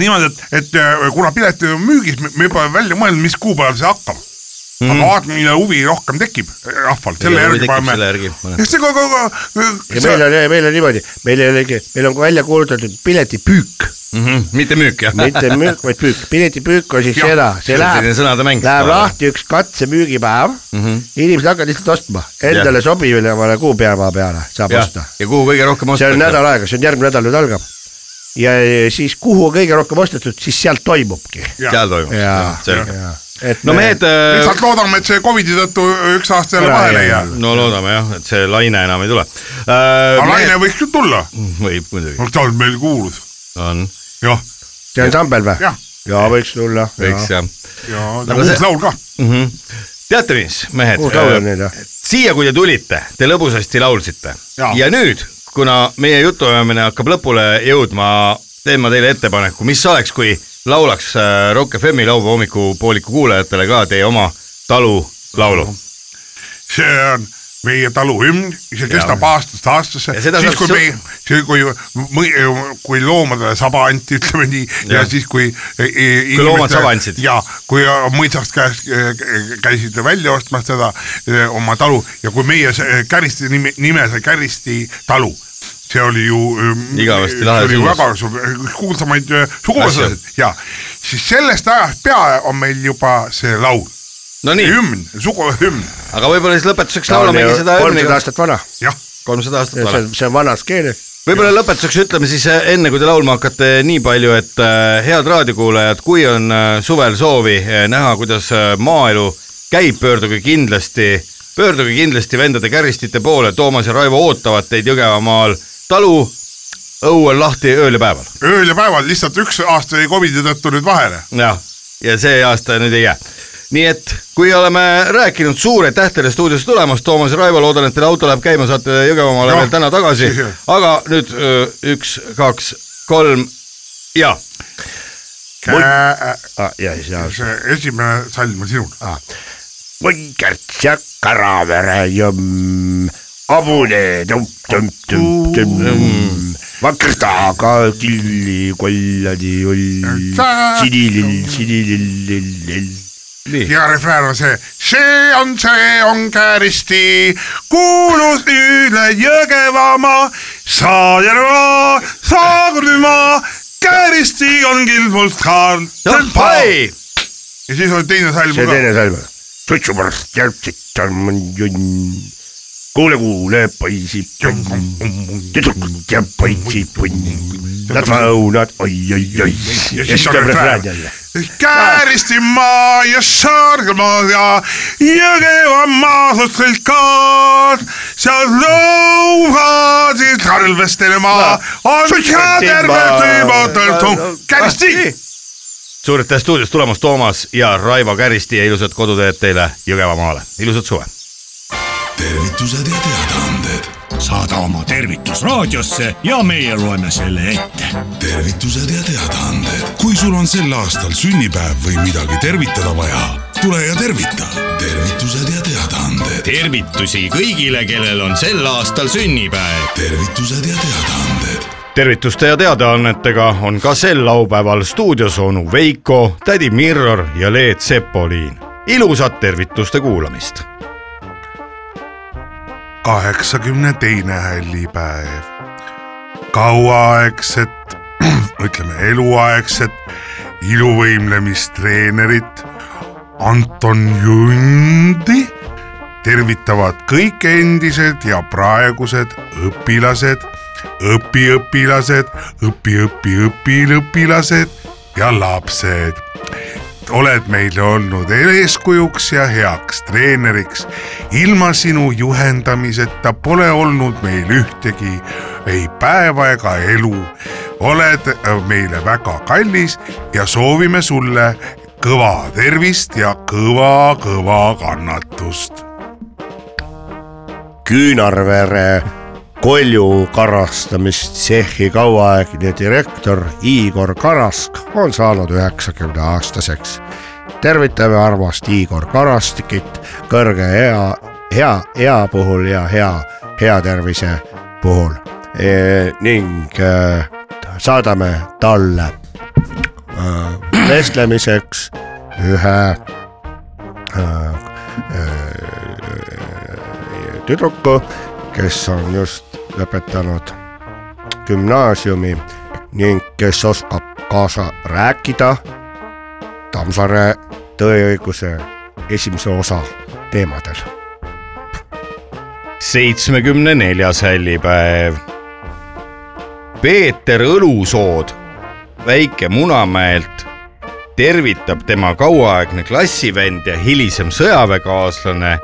Speaker 6: niimoodi , et , et äh, kuna piletid on müügis , me pole välja mõelnud , mis kuupäeval see hakkab mm . -hmm. aga vaatame , mille huvi rohkem tekib äh, rahval , selle järgi
Speaker 4: Mhm. selle
Speaker 6: paneme .
Speaker 4: järgi .
Speaker 6: ja see kogu ,
Speaker 5: ja meil on , meil on niimoodi , meil ei olegi , meil on välja kuulutatud piletipüük ,
Speaker 4: Mm -hmm. mitte müük jah ?
Speaker 5: mitte müük , vaid püük , piletipüük on siis
Speaker 6: Jah,
Speaker 5: seda , see läheb ,
Speaker 4: sõnade mäng .
Speaker 5: läheb lahti üks katsemüügipäev mm -hmm. , inimesed hakkavad lihtsalt ostma , endale sobivale kuupäeva peale saab
Speaker 4: ja,
Speaker 5: osta .
Speaker 4: ja kuhu kõige rohkem
Speaker 5: see
Speaker 4: osta
Speaker 5: on . nädal aega , see on järgmine nädal nüüd algab . ja ja siis kuhu on kõige rohkem ostetud , siis sealt toimubki .
Speaker 4: seal toimub .
Speaker 5: jaa ,
Speaker 4: selge .
Speaker 5: jaa , et eh,
Speaker 4: no mehed , äh,
Speaker 6: lihtsalt loodame , et see Covidi tõttu üks aasta jälle
Speaker 5: Ära ei
Speaker 6: vahele ei jää
Speaker 5: jää. .
Speaker 4: no loodame jah , et see laine enam ei tule .
Speaker 6: aga laine võiks küll tulla ,
Speaker 4: võib muidugi ,
Speaker 6: ta on meil kuulus ,
Speaker 4: on ,
Speaker 6: jah ,
Speaker 5: see on sambel või
Speaker 6: Jah. ?
Speaker 5: jaa , võiks tulla .
Speaker 4: võiks jah .
Speaker 6: ja
Speaker 4: Aga
Speaker 6: uus
Speaker 4: see-
Speaker 6: laul ka
Speaker 4: teate mis , mehed Äh,
Speaker 5: kuhu , laul on nüüd või ?
Speaker 4: siia , kui te tulite , te lõbusasti laulsite
Speaker 6: Jaa.
Speaker 4: ja nüüd , kuna meie jutuajamine hakkab lõpule jõudma , teen ma teile ettepaneku , mis oleks , kui laulaks äh, Rock FM-i laupäeva hommikupooliku kuulajatele ka teie oma talu laulu .
Speaker 5: Mhm.
Speaker 6: see on meie talu hümn , see kestab aastast aastasse ,
Speaker 4: Ja seda
Speaker 6: siis
Speaker 4: saab
Speaker 6: kui
Speaker 4: su-
Speaker 6: meie , see kui , kui loomadele saba anti , ütleme nii , ja
Speaker 4: Jah.
Speaker 6: siis kui . e- kui
Speaker 4: loomad saba andsid.
Speaker 6: ja kui äh, mõisast käest äh, käisid välja ostmas seda äh, oma talu ja kui meie see e, Käristi nime , nime sai Käristi talu see oli ju ähm,
Speaker 4: Igavesti
Speaker 6: see
Speaker 4: lahe
Speaker 6: oli ju
Speaker 4: sündmus.
Speaker 6: väga su- üks kuulsamaid äh, sugulaseid ja siis sellest ajast peale on meil juba see laul ,
Speaker 4: Nonii ,
Speaker 6: hümn , sugulahümn ,
Speaker 4: aga võib-olla siis lõpetuseks
Speaker 5: ta on
Speaker 4: laulamegi
Speaker 5: ju
Speaker 4: seda
Speaker 5: äh, kolmsada aastat vana ,
Speaker 6: jah
Speaker 4: kolmsada aastat
Speaker 5: see
Speaker 4: vana
Speaker 5: on , see on vanas keeles .
Speaker 4: võib-olla lõpetuseks ütleme siis eh, enne , kui te laulma hakkate , nii palju , et eh, head raadiokuulajad , kui on eh, suvel soovi eh, näha , kuidas eh, maaelu käib , pöörduge kindlasti , pöörduge kindlasti vendade käristite poole , Toomas ja Raivo ootavad teid Jõgevamaal talu , õue on lahti ööl ja päeval .
Speaker 6: ööl ja päeval lihtsalt üks aasta jäi Covidi tõttu nüüd vahele .
Speaker 4: jah , ja see aasta nüüd ei jää . nii et kui oleme rääkinud suure tähtede stuudiosse tulemast , Toomas ja Raivo , loodan , et teil auto läheb käima , saate Jõgevamaale
Speaker 6: Jah.
Speaker 4: veel täna tagasi
Speaker 6: Jah. ,
Speaker 4: aga nüüd öö, üks , kaks , kolm ja
Speaker 5: Ah, ja siis jah .
Speaker 6: see esimene salm on sinul .
Speaker 5: võnkert ja karavere jõmm , hobune tõmp-tõmp-tõmp-tõmm , vakrdaga killi kolladi ull , sinilill , sinilill , lill , lill ,
Speaker 4: nii ,
Speaker 6: ja refrään on see . see on , see on Kääristi , kuulus üle Jõgevamaa , Saarjärva , Saagurmaa , Kääristi on kilbult kaal .
Speaker 4: šampai ,
Speaker 6: ja siis on teine salm
Speaker 8: see
Speaker 6: ka .
Speaker 8: teine salm . suitsu pärast järgset on junn . kuule , kuule , poisid , tüdrukud ja poisid , nad vaunad , oi , oi , oi . ja siis tuleb refrään jälle .
Speaker 6: Kääristimaa ja Saarmaa ja er Jõgevamaa suhteliselt ka , seal lõugasid talvestele
Speaker 8: Ah,
Speaker 6: maa , on terve tõmbatatud
Speaker 8: ah,
Speaker 6: Kääristi .
Speaker 4: suurte stuudios tulemas Toomas ja Raivo Käristi ja ilusat koduteed teile Jõgevamaale , ilusat suve
Speaker 1: tervitused ja teadaanded ,
Speaker 9: saada oma tervitus raadiosse ja meie loeme selle ette .
Speaker 1: tervitused ja teadaanded . kui sul on sel aastal sünnipäev või midagi tervitada vaja , tule ja tervita . tervitused ja teadaanded ,
Speaker 10: tervitusi kõigile , kellel on sel aastal sünnipäev .
Speaker 1: tervitused ja teadaanded ,
Speaker 4: tervituste ja teadaannetega on ka sel laupäeval stuudios onu Veiko , tädi Mirror ja Leet Sepoliin . ilusat tervituste kuulamist .
Speaker 6: kaheksakümne teine hällipäev . kauaaegset , ütleme eluaegset iluvõimlemistreenerit Anton Jundi tervitavad kõik endised ja praegused õpilased , õpiõpilased , õpi-õpi-õpilõpilased ja lapsed . oled meile olnud eeskujuks ja heaks treeneriks . ilma sinu juhendamiseta pole olnud meil ühtegi ei päeva ega elu . oled äh, meile väga kallis ja soovime sulle kõva tervist ja kõva-kõva kannatust .
Speaker 5: Küünarvere kolju karastamistsehhi kauaaegne direktor Igor Karask on saanud üheksakümne aastaseks . tervitame armast Igor Karastikit kõrge ea , hea ea puhul ja hea , hea tervise puhul e, ning e, saadame talle e, vestlemiseks ühe e, tüdruku , kes on just lõpetanud gümnaasiumi ning kes oskab kaasa rääkida Tammsaare tõeõiguse esimese osa teemadel .
Speaker 4: seitsmekümne neljas hällipäev . Peeter Õlusood Väike Munamäelt tervitab tema kauaaegne klassivend ja hilisem sõjaväekaaslane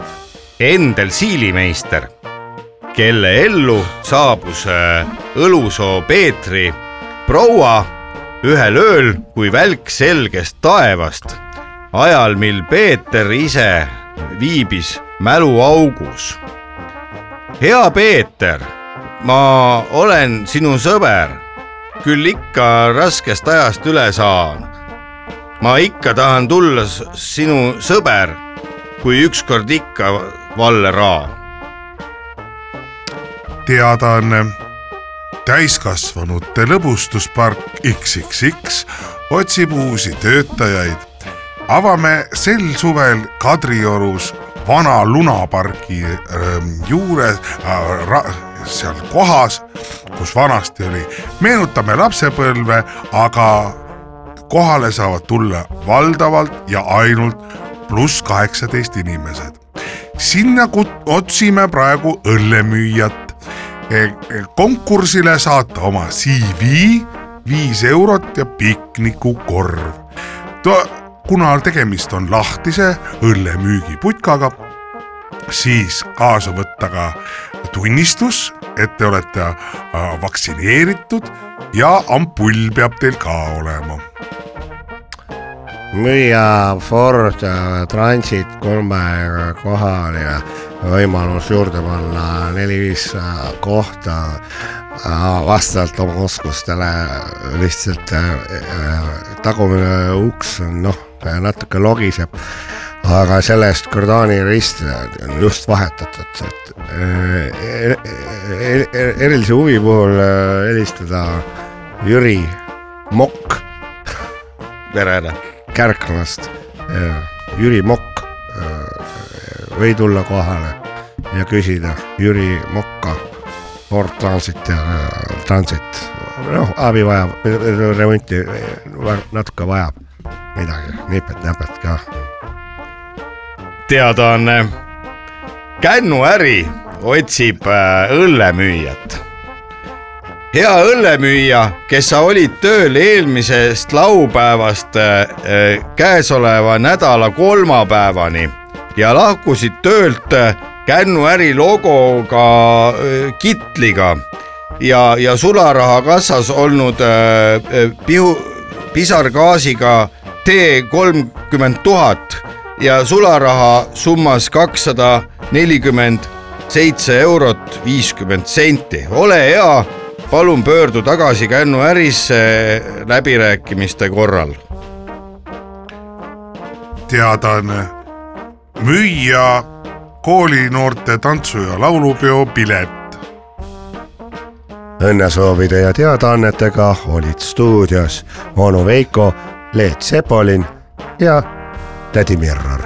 Speaker 4: Endel Siilimeister , kelle ellu saabus äh, Õlusoo Peetri proua ühel ööl kui välk selgest taevast , ajal mil Peeter ise viibis mäluaugus hea Peeter , ma olen sinu sõber , küll ikka raskest ajast üle saan . ma ikka tahan tulla s- sinu sõber , kui ükskord ikka Valle Raam .
Speaker 6: teadaanne . täiskasvanute lõbustuspark XXX otsib uusi töötajaid . avame sel suvel Kadriorus vana lunapargi ähm, juures äh, , seal kohas , kus vanasti oli . meenutame lapsepõlve , aga kohale saavad tulla valdavalt ja ainult pluss kaheksateist inimesed . sinna kut- otsime praegu õllemüüjat . konkursile saata oma CV , viis eurot ja piknikukorv . kuna tegemist on lahtise õllemüügiputkaga , siis kaasa võtta ka tunnistus , et te olete äh, vaktsineeritud ja ampull peab teil ka olema
Speaker 5: müüa Ford äh, Transit kolme kohaline võimalus juurde panna neli-viis äh, kohta äh, vastavalt oma oskustele lihtsalt äh, äh, tagumine uks on noh , natuke logiseb , aga sellest Gordani risti on just vahetatud , et äh, er- er- er- erilise huvi puhul äh, helistada Jüri Mokk
Speaker 4: tere , tere .
Speaker 5: Kärklast , äh, Jüri Mokk äh, või tulla kohale ja küsida Jüri Mokka Ford Transit ja äh, Transit , noh abi vajab , remonti äh, natuke vajab midagi , nipet-näpet ka .
Speaker 4: teadaanne . kännuäri otsib äh, õllemüüjat . hea õllemüüja , kes sa olid tööl eelmisest laupäevast äh, äh, käesoleva nädala kolmapäevani ja lahkusid töölt äh, kännuäri logoga äh, kitliga ja , ja sularahakassas olnud äh, äh, pihu , pisargaasiga tee kolmkümmend tuhat ja sularaha summas kakssada nelikümmend seitse eurot viiskümmend senti . ole hea , palun pöördu tagasi Kännu ärisse läbirääkimiste korral .
Speaker 6: teadaanne . müüja koolinoorte tantsu- ja laulupeo pilet .
Speaker 5: õnnesoovide ja teadaannetega olid stuudios onu Veiko , Leet Sepolin ja tädi Mirror .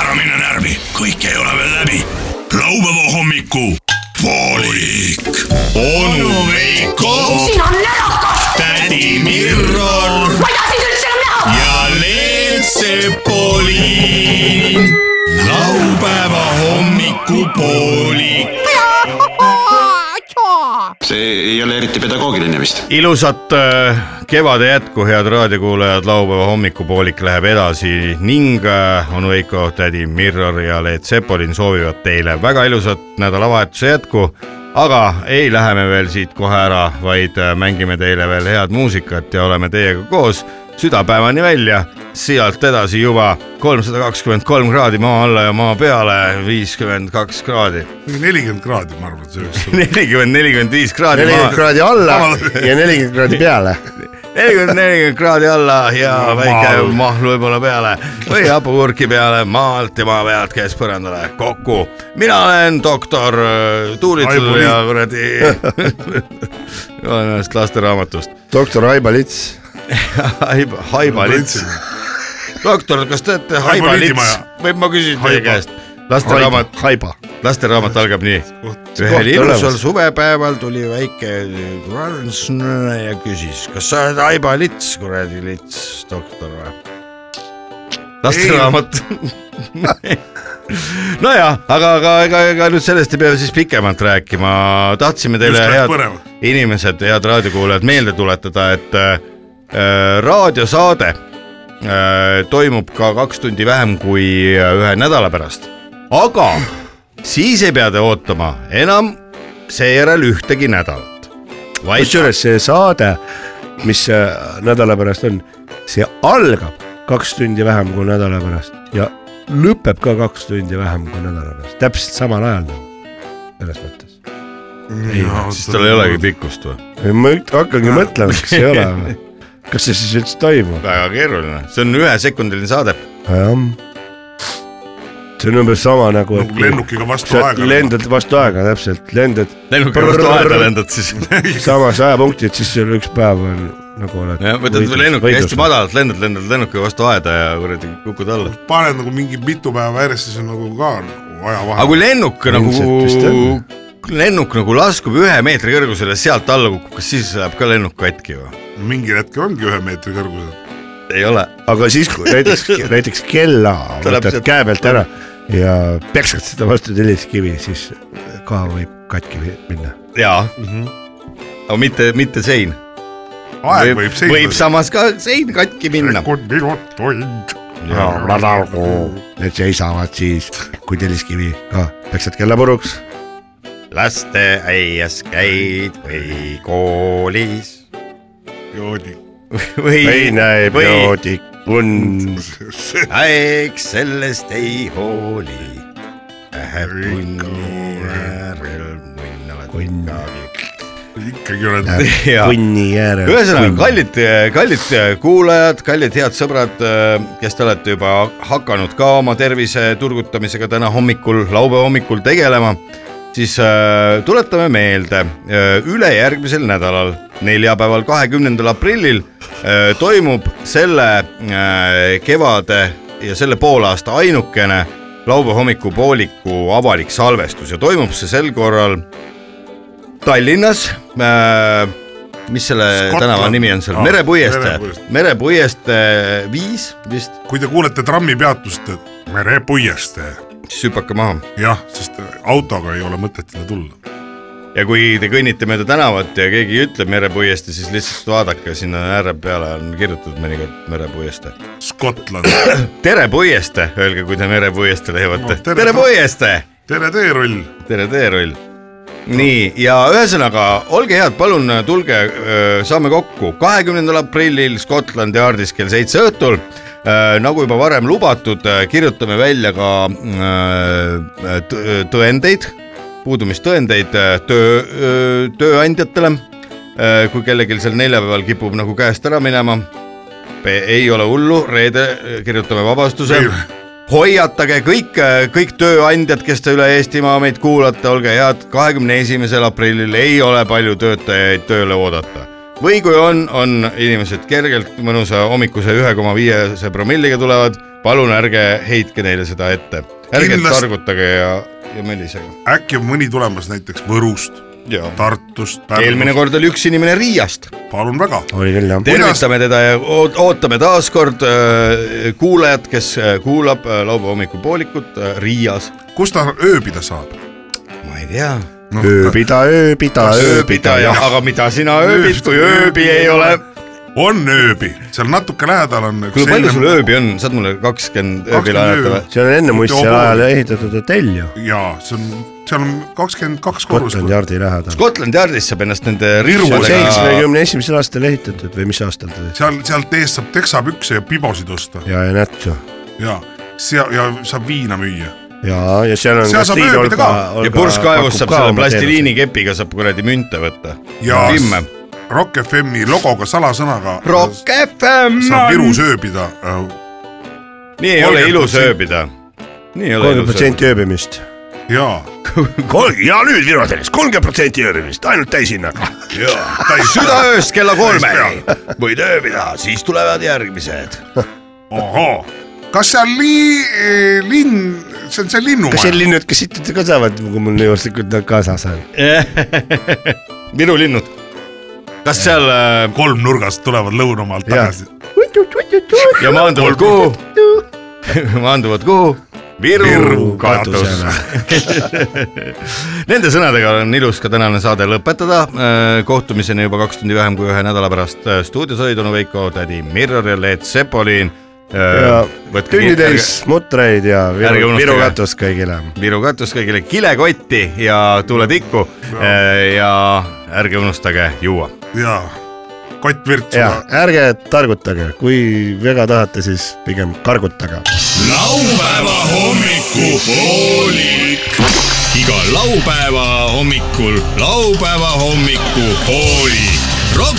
Speaker 1: ära mine närvi , kõik ei ole veel läbi . laupäeva hommiku poolik . onu Veiko ,
Speaker 11: siin on närakas ,
Speaker 1: tädi Mirro
Speaker 11: ma ei taha sind üldse enam näha .
Speaker 1: ja Leet Sepolin . laupäeva hommikupoolik .
Speaker 3: see ei ole eriti pedagoogiline vist .
Speaker 4: ilusat äh, kevade jätku , head raadiokuulajad , laupäeva hommikupoolik läheb edasi ning äh, onu Veiko , tädi Mirror ja Leet Sepolin soovivad teile väga ilusat nädalavahetuse jätku . aga ei lähe me veel siit kohe ära , vaid äh, mängime teile veel head muusikat ja oleme teiega koos südapäevani välja , sealt edasi juba kolmsada kakskümmend kolm kraadi maa alla ja maa peale , viiskümmend kaks kraadi ,
Speaker 6: nelikümmend kraadi , ma arvan , et see võiks olla .
Speaker 4: nelikümmend , nelikümmend viis kraadi .
Speaker 5: nelikümmend kraadi alla ja nelikümmend kraadi peale .
Speaker 4: nelikümmend , nelikümmend kraadi alla ja väike mahlu võib-olla peale või hapukurki peale maa alt ja maa pealt käes põrandale kokku . mina olen doktor äh, Tuulitul
Speaker 6: Aibu
Speaker 4: ja kuradi olen ühest lasteraamatust .
Speaker 5: doktor Aivo Lits ,
Speaker 4: Haiba , Haiba Lits . doktor , kas te olete Haiba
Speaker 6: Haiba
Speaker 4: Lits
Speaker 6: Liidimaja. ?
Speaker 4: võib ma küsin teie
Speaker 6: Haiba.
Speaker 4: käest ? lasteraamat ,
Speaker 5: Haiba .
Speaker 4: lasteraamat algab nii . ühel
Speaker 5: Kohta
Speaker 4: ilusal
Speaker 5: olemas.
Speaker 4: suvepäeval tuli väike Ransnõ ja küsis , kas sa oled Aiba Lits , kuradi Lits , doktor või ? lasteraamat . nojah , aga , aga ega , ega nüüd sellest ei pea siis pikemalt rääkima , tahtsime teile
Speaker 6: Just läks
Speaker 4: head
Speaker 6: põnevaks.
Speaker 4: inimesed , head raadiokuulajad meelde tuletada , et äh, raadiosaade äh, toimub ka kaks tundi vähem kui äh, ühe nädala pärast , aga siis ei pea te ootama enam seejärel ühtegi nädalat . vaid
Speaker 5: kusjuures see saade , mis äh, nädala pärast on , see algab kaks tundi vähem kui nädala pärast ja lõpeb ka kaks tundi vähem kui nädala pärast , täpselt samal ajal nagu selles mõttes .
Speaker 4: siis tal ei olegi pikkust või ?
Speaker 5: ma üt- hakkangi mõtlema , kas ei ole või , kas see siis üldse toimub ?
Speaker 4: väga keeruline , see on ühesekundiline saade .
Speaker 5: jah . see on umbes sama nagu ,
Speaker 6: nagu lennukiga vastu
Speaker 5: sa
Speaker 6: aega .
Speaker 5: lendad vastu aega täpselt , lendad
Speaker 4: lennuki vastu aeda lendad siis .
Speaker 5: samas ajapunktid , siis sul üks päev on nagu oled .
Speaker 4: jah , võtad lennuki hästi . madalalt , lendad , lendad lennuki vastu aeda ja kuradi kukud alla .
Speaker 6: paned nagu mingi mitu päeva järjest , siis on nagu ka nagu
Speaker 4: aga
Speaker 6: ajavahe .
Speaker 4: kui lennuk
Speaker 5: Ilmselt vist
Speaker 4: nagu
Speaker 5: on. ,
Speaker 4: lennuk nagu laskub ühe meetri kõrgusele , sealt alla kukub , kas siis läheb ka lennuk katki või ?
Speaker 6: mingil hetkel ongi ühe meetri kõrgusel .
Speaker 4: ei ole .
Speaker 5: aga siis , kui näiteks , näiteks kella
Speaker 4: Tuleb
Speaker 5: võtad
Speaker 4: sealt-
Speaker 5: käe pealt ära ja peksad seda vastu telliskivi , siis ka võib katki vi- minna .
Speaker 4: jaa .
Speaker 5: Mhm.
Speaker 4: aga mitte , mitte sein .
Speaker 6: aeg võib
Speaker 4: võib
Speaker 6: seisma .
Speaker 4: samas ka sein katki minna .
Speaker 6: sekund , minut , tund .
Speaker 5: Need seisavad siis , kui telliskivi ka peksad kella puruks .
Speaker 4: lasteaias käid või koolis
Speaker 6: joodi .
Speaker 4: või ,
Speaker 5: ei näe joodik und .
Speaker 4: aeg sellest ei hooli . Läheb tunni äärel munnale tunnagi .
Speaker 6: ikkagi oled .
Speaker 4: jaa ,
Speaker 5: punni järel .
Speaker 4: ühesõnaga , kallid , kallid äh, kuulajad , kallid head sõbrad , kes te olete juba hakanud ka oma tervise turgutamisega täna hommikul , laupäeva hommikul tegelema , siis äh, tuletame meelde äh,, ülejärgmisel nädalal, neljapäeval, kahekümnendal aprillil äh, toimub selle äh, kevade ja selle poolaasta ainukene laupäeva hommikupooliku avalik salvestus ja toimub see sel korral Tallinnas äh, mis selle
Speaker 6: Scotland.
Speaker 4: tänava nimi on seal
Speaker 6: Aa,
Speaker 4: ah, , Merepuiestee
Speaker 6: Merepuiestee. ,
Speaker 4: Merepuiestee viis vist ,
Speaker 6: kui te kuulete trammipeatust , et merepuiestee ,
Speaker 4: siis hüpake maha
Speaker 6: jah , sest autoga ei ole mõtet sinna tulla .
Speaker 4: ja kui te kõnnite mööda tänavat ja keegi ütleb merepuiestee , siis lihtsalt vaadake sinna ääre peale on kirjutatud mõnikord merepuiestee .
Speaker 6: Scotland ,
Speaker 4: tere puiestee , öelge , kui te merepuiestee leiate
Speaker 6: No,
Speaker 4: no, .
Speaker 6: tere-
Speaker 4: tere puiestee ,
Speaker 6: tere teerull ,
Speaker 4: tere teerull . nii ja ühesõnaga olge head , palun tulge , saame kokku kahekümnendal aprillil Scotland Yardis kell seitse õhtul . nagu juba varem lubatud , kirjutame välja ka öö, tõ- tõendeid , puudumistõendeid öö, töö , tööandjatele . kui kellelgi seal neljapäeval kipub nagu käest ära minema , ei ole hullu , reede öö, kirjutame vabastuse
Speaker 6: Ei.
Speaker 4: hoiatage kõik , kõik tööandjad , kes te üle Eestimaa meid kuulate , olge head , kahekümne esimesel aprillil ei ole palju töötajaid tööle oodata . või kui on , on inimesed kergelt mõnusa hommikuse ühe koma viiese promilliga tulevad , palun ärge heitke neile seda ette .
Speaker 6: Kindlasti-
Speaker 4: ärge Kindlast... targutage ja , ja mölisege .
Speaker 6: äkki on mõni tulemas näiteks Võrust , Tartust ,
Speaker 4: eelmine
Speaker 6: Pärnust ,
Speaker 4: kord oli üks inimene Riiast ,
Speaker 6: palun väga .
Speaker 12: oli küll jah .
Speaker 4: tervitame teda ja oot- ootame taas kord äh, kuulajat , kes äh, kuulab äh, laupäeva hommikupoolikut äh, Riias .
Speaker 6: kus ta ööbida saab ?
Speaker 4: ma ei tea
Speaker 12: ööbida , ööbida ,
Speaker 4: ööbidaja ,
Speaker 12: ööbida .
Speaker 4: aga mida sina ööbid , kui ööbi ei ole ?
Speaker 6: on ööbi , seal natuke lähedal on .
Speaker 4: kuule , palju sul ? ööbi on , saad mulle kakskümmend ööbi
Speaker 6: 20
Speaker 4: laenata
Speaker 6: ööbi.
Speaker 4: või ?
Speaker 12: see on enne muistsel ajal ehitatud hotell ju .
Speaker 6: jaa , see on , seal on kakskümmend kaks korrust .
Speaker 12: Scotland Yardi lähedal .
Speaker 4: Scotland Yardis saab ennast nende rirudega ,
Speaker 12: seitsmekümne esimesel aastal ehitatud või mis aastal ta siis ?
Speaker 6: seal , sealt ees saab teksapükse ja pibosid osta
Speaker 12: ja , ja nätsu .
Speaker 6: ja seal ja saab viina müüa .
Speaker 12: ja , ja seal on .
Speaker 6: Seal saab ööbida ka.
Speaker 4: ja purskkaevus saab selle plastiliini . kepiga saab kuradi münte võtta .
Speaker 6: ja
Speaker 4: Vimme .
Speaker 6: Rock FM-i logoga salasõnaga
Speaker 4: Rock FM
Speaker 6: saab Virus
Speaker 4: on .
Speaker 6: ööbida . Äh,
Speaker 4: nii ei ole ilus
Speaker 6: 30%
Speaker 4: ööbida . nii ei ole
Speaker 12: kolmkümmend
Speaker 4: ilus ööbida .
Speaker 12: protsenti ööbimist .
Speaker 6: jaa ,
Speaker 5: ja nüüd Viru tennis , kolmkümmend protsenti ööbimist , ainult täishinnaga .
Speaker 6: jaa , täis
Speaker 4: südaööst kella kolmeni võid ööbida , siis tulevad järgmised .
Speaker 6: ahhaa , kas seal lii- , linn , see on see
Speaker 12: kas
Speaker 6: linnumaja ,
Speaker 12: selline , kes siit ka saavad , kui mul juhuslikult nad kaasas on ?
Speaker 4: Viru linnud . kas seal äh,
Speaker 6: kolmnurgast tulevad lõunamaalt
Speaker 12: Jaa.
Speaker 6: tagasi .
Speaker 4: ja maanduvad kuhu ? maanduvad kuhu ? Viru katus . Nende sõnadega on ilus ka tänane saade lõpetada . kohtumiseni juba kaks tundi vähem kui ühe nädala pärast . stuudios olid onu Veiko , tädi Mirror ja Leet Sepolin . Äh,
Speaker 12: ja tünnitäis mutreid ja
Speaker 4: ärge
Speaker 12: Viru ,
Speaker 4: unustage.
Speaker 12: Viru katus kõigile .
Speaker 4: Viru katus kõigile kilekotti ja tuule tikku . ja ärge unustage juua .
Speaker 6: jaa , kott
Speaker 12: ja
Speaker 6: virtsuga .
Speaker 12: ärge targutage , kui väga tahate , siis pigem kargutage
Speaker 1: laupäeva hommikupoolik .
Speaker 13: iga laupäeva hommikul laupäeva hommikupooli . Rock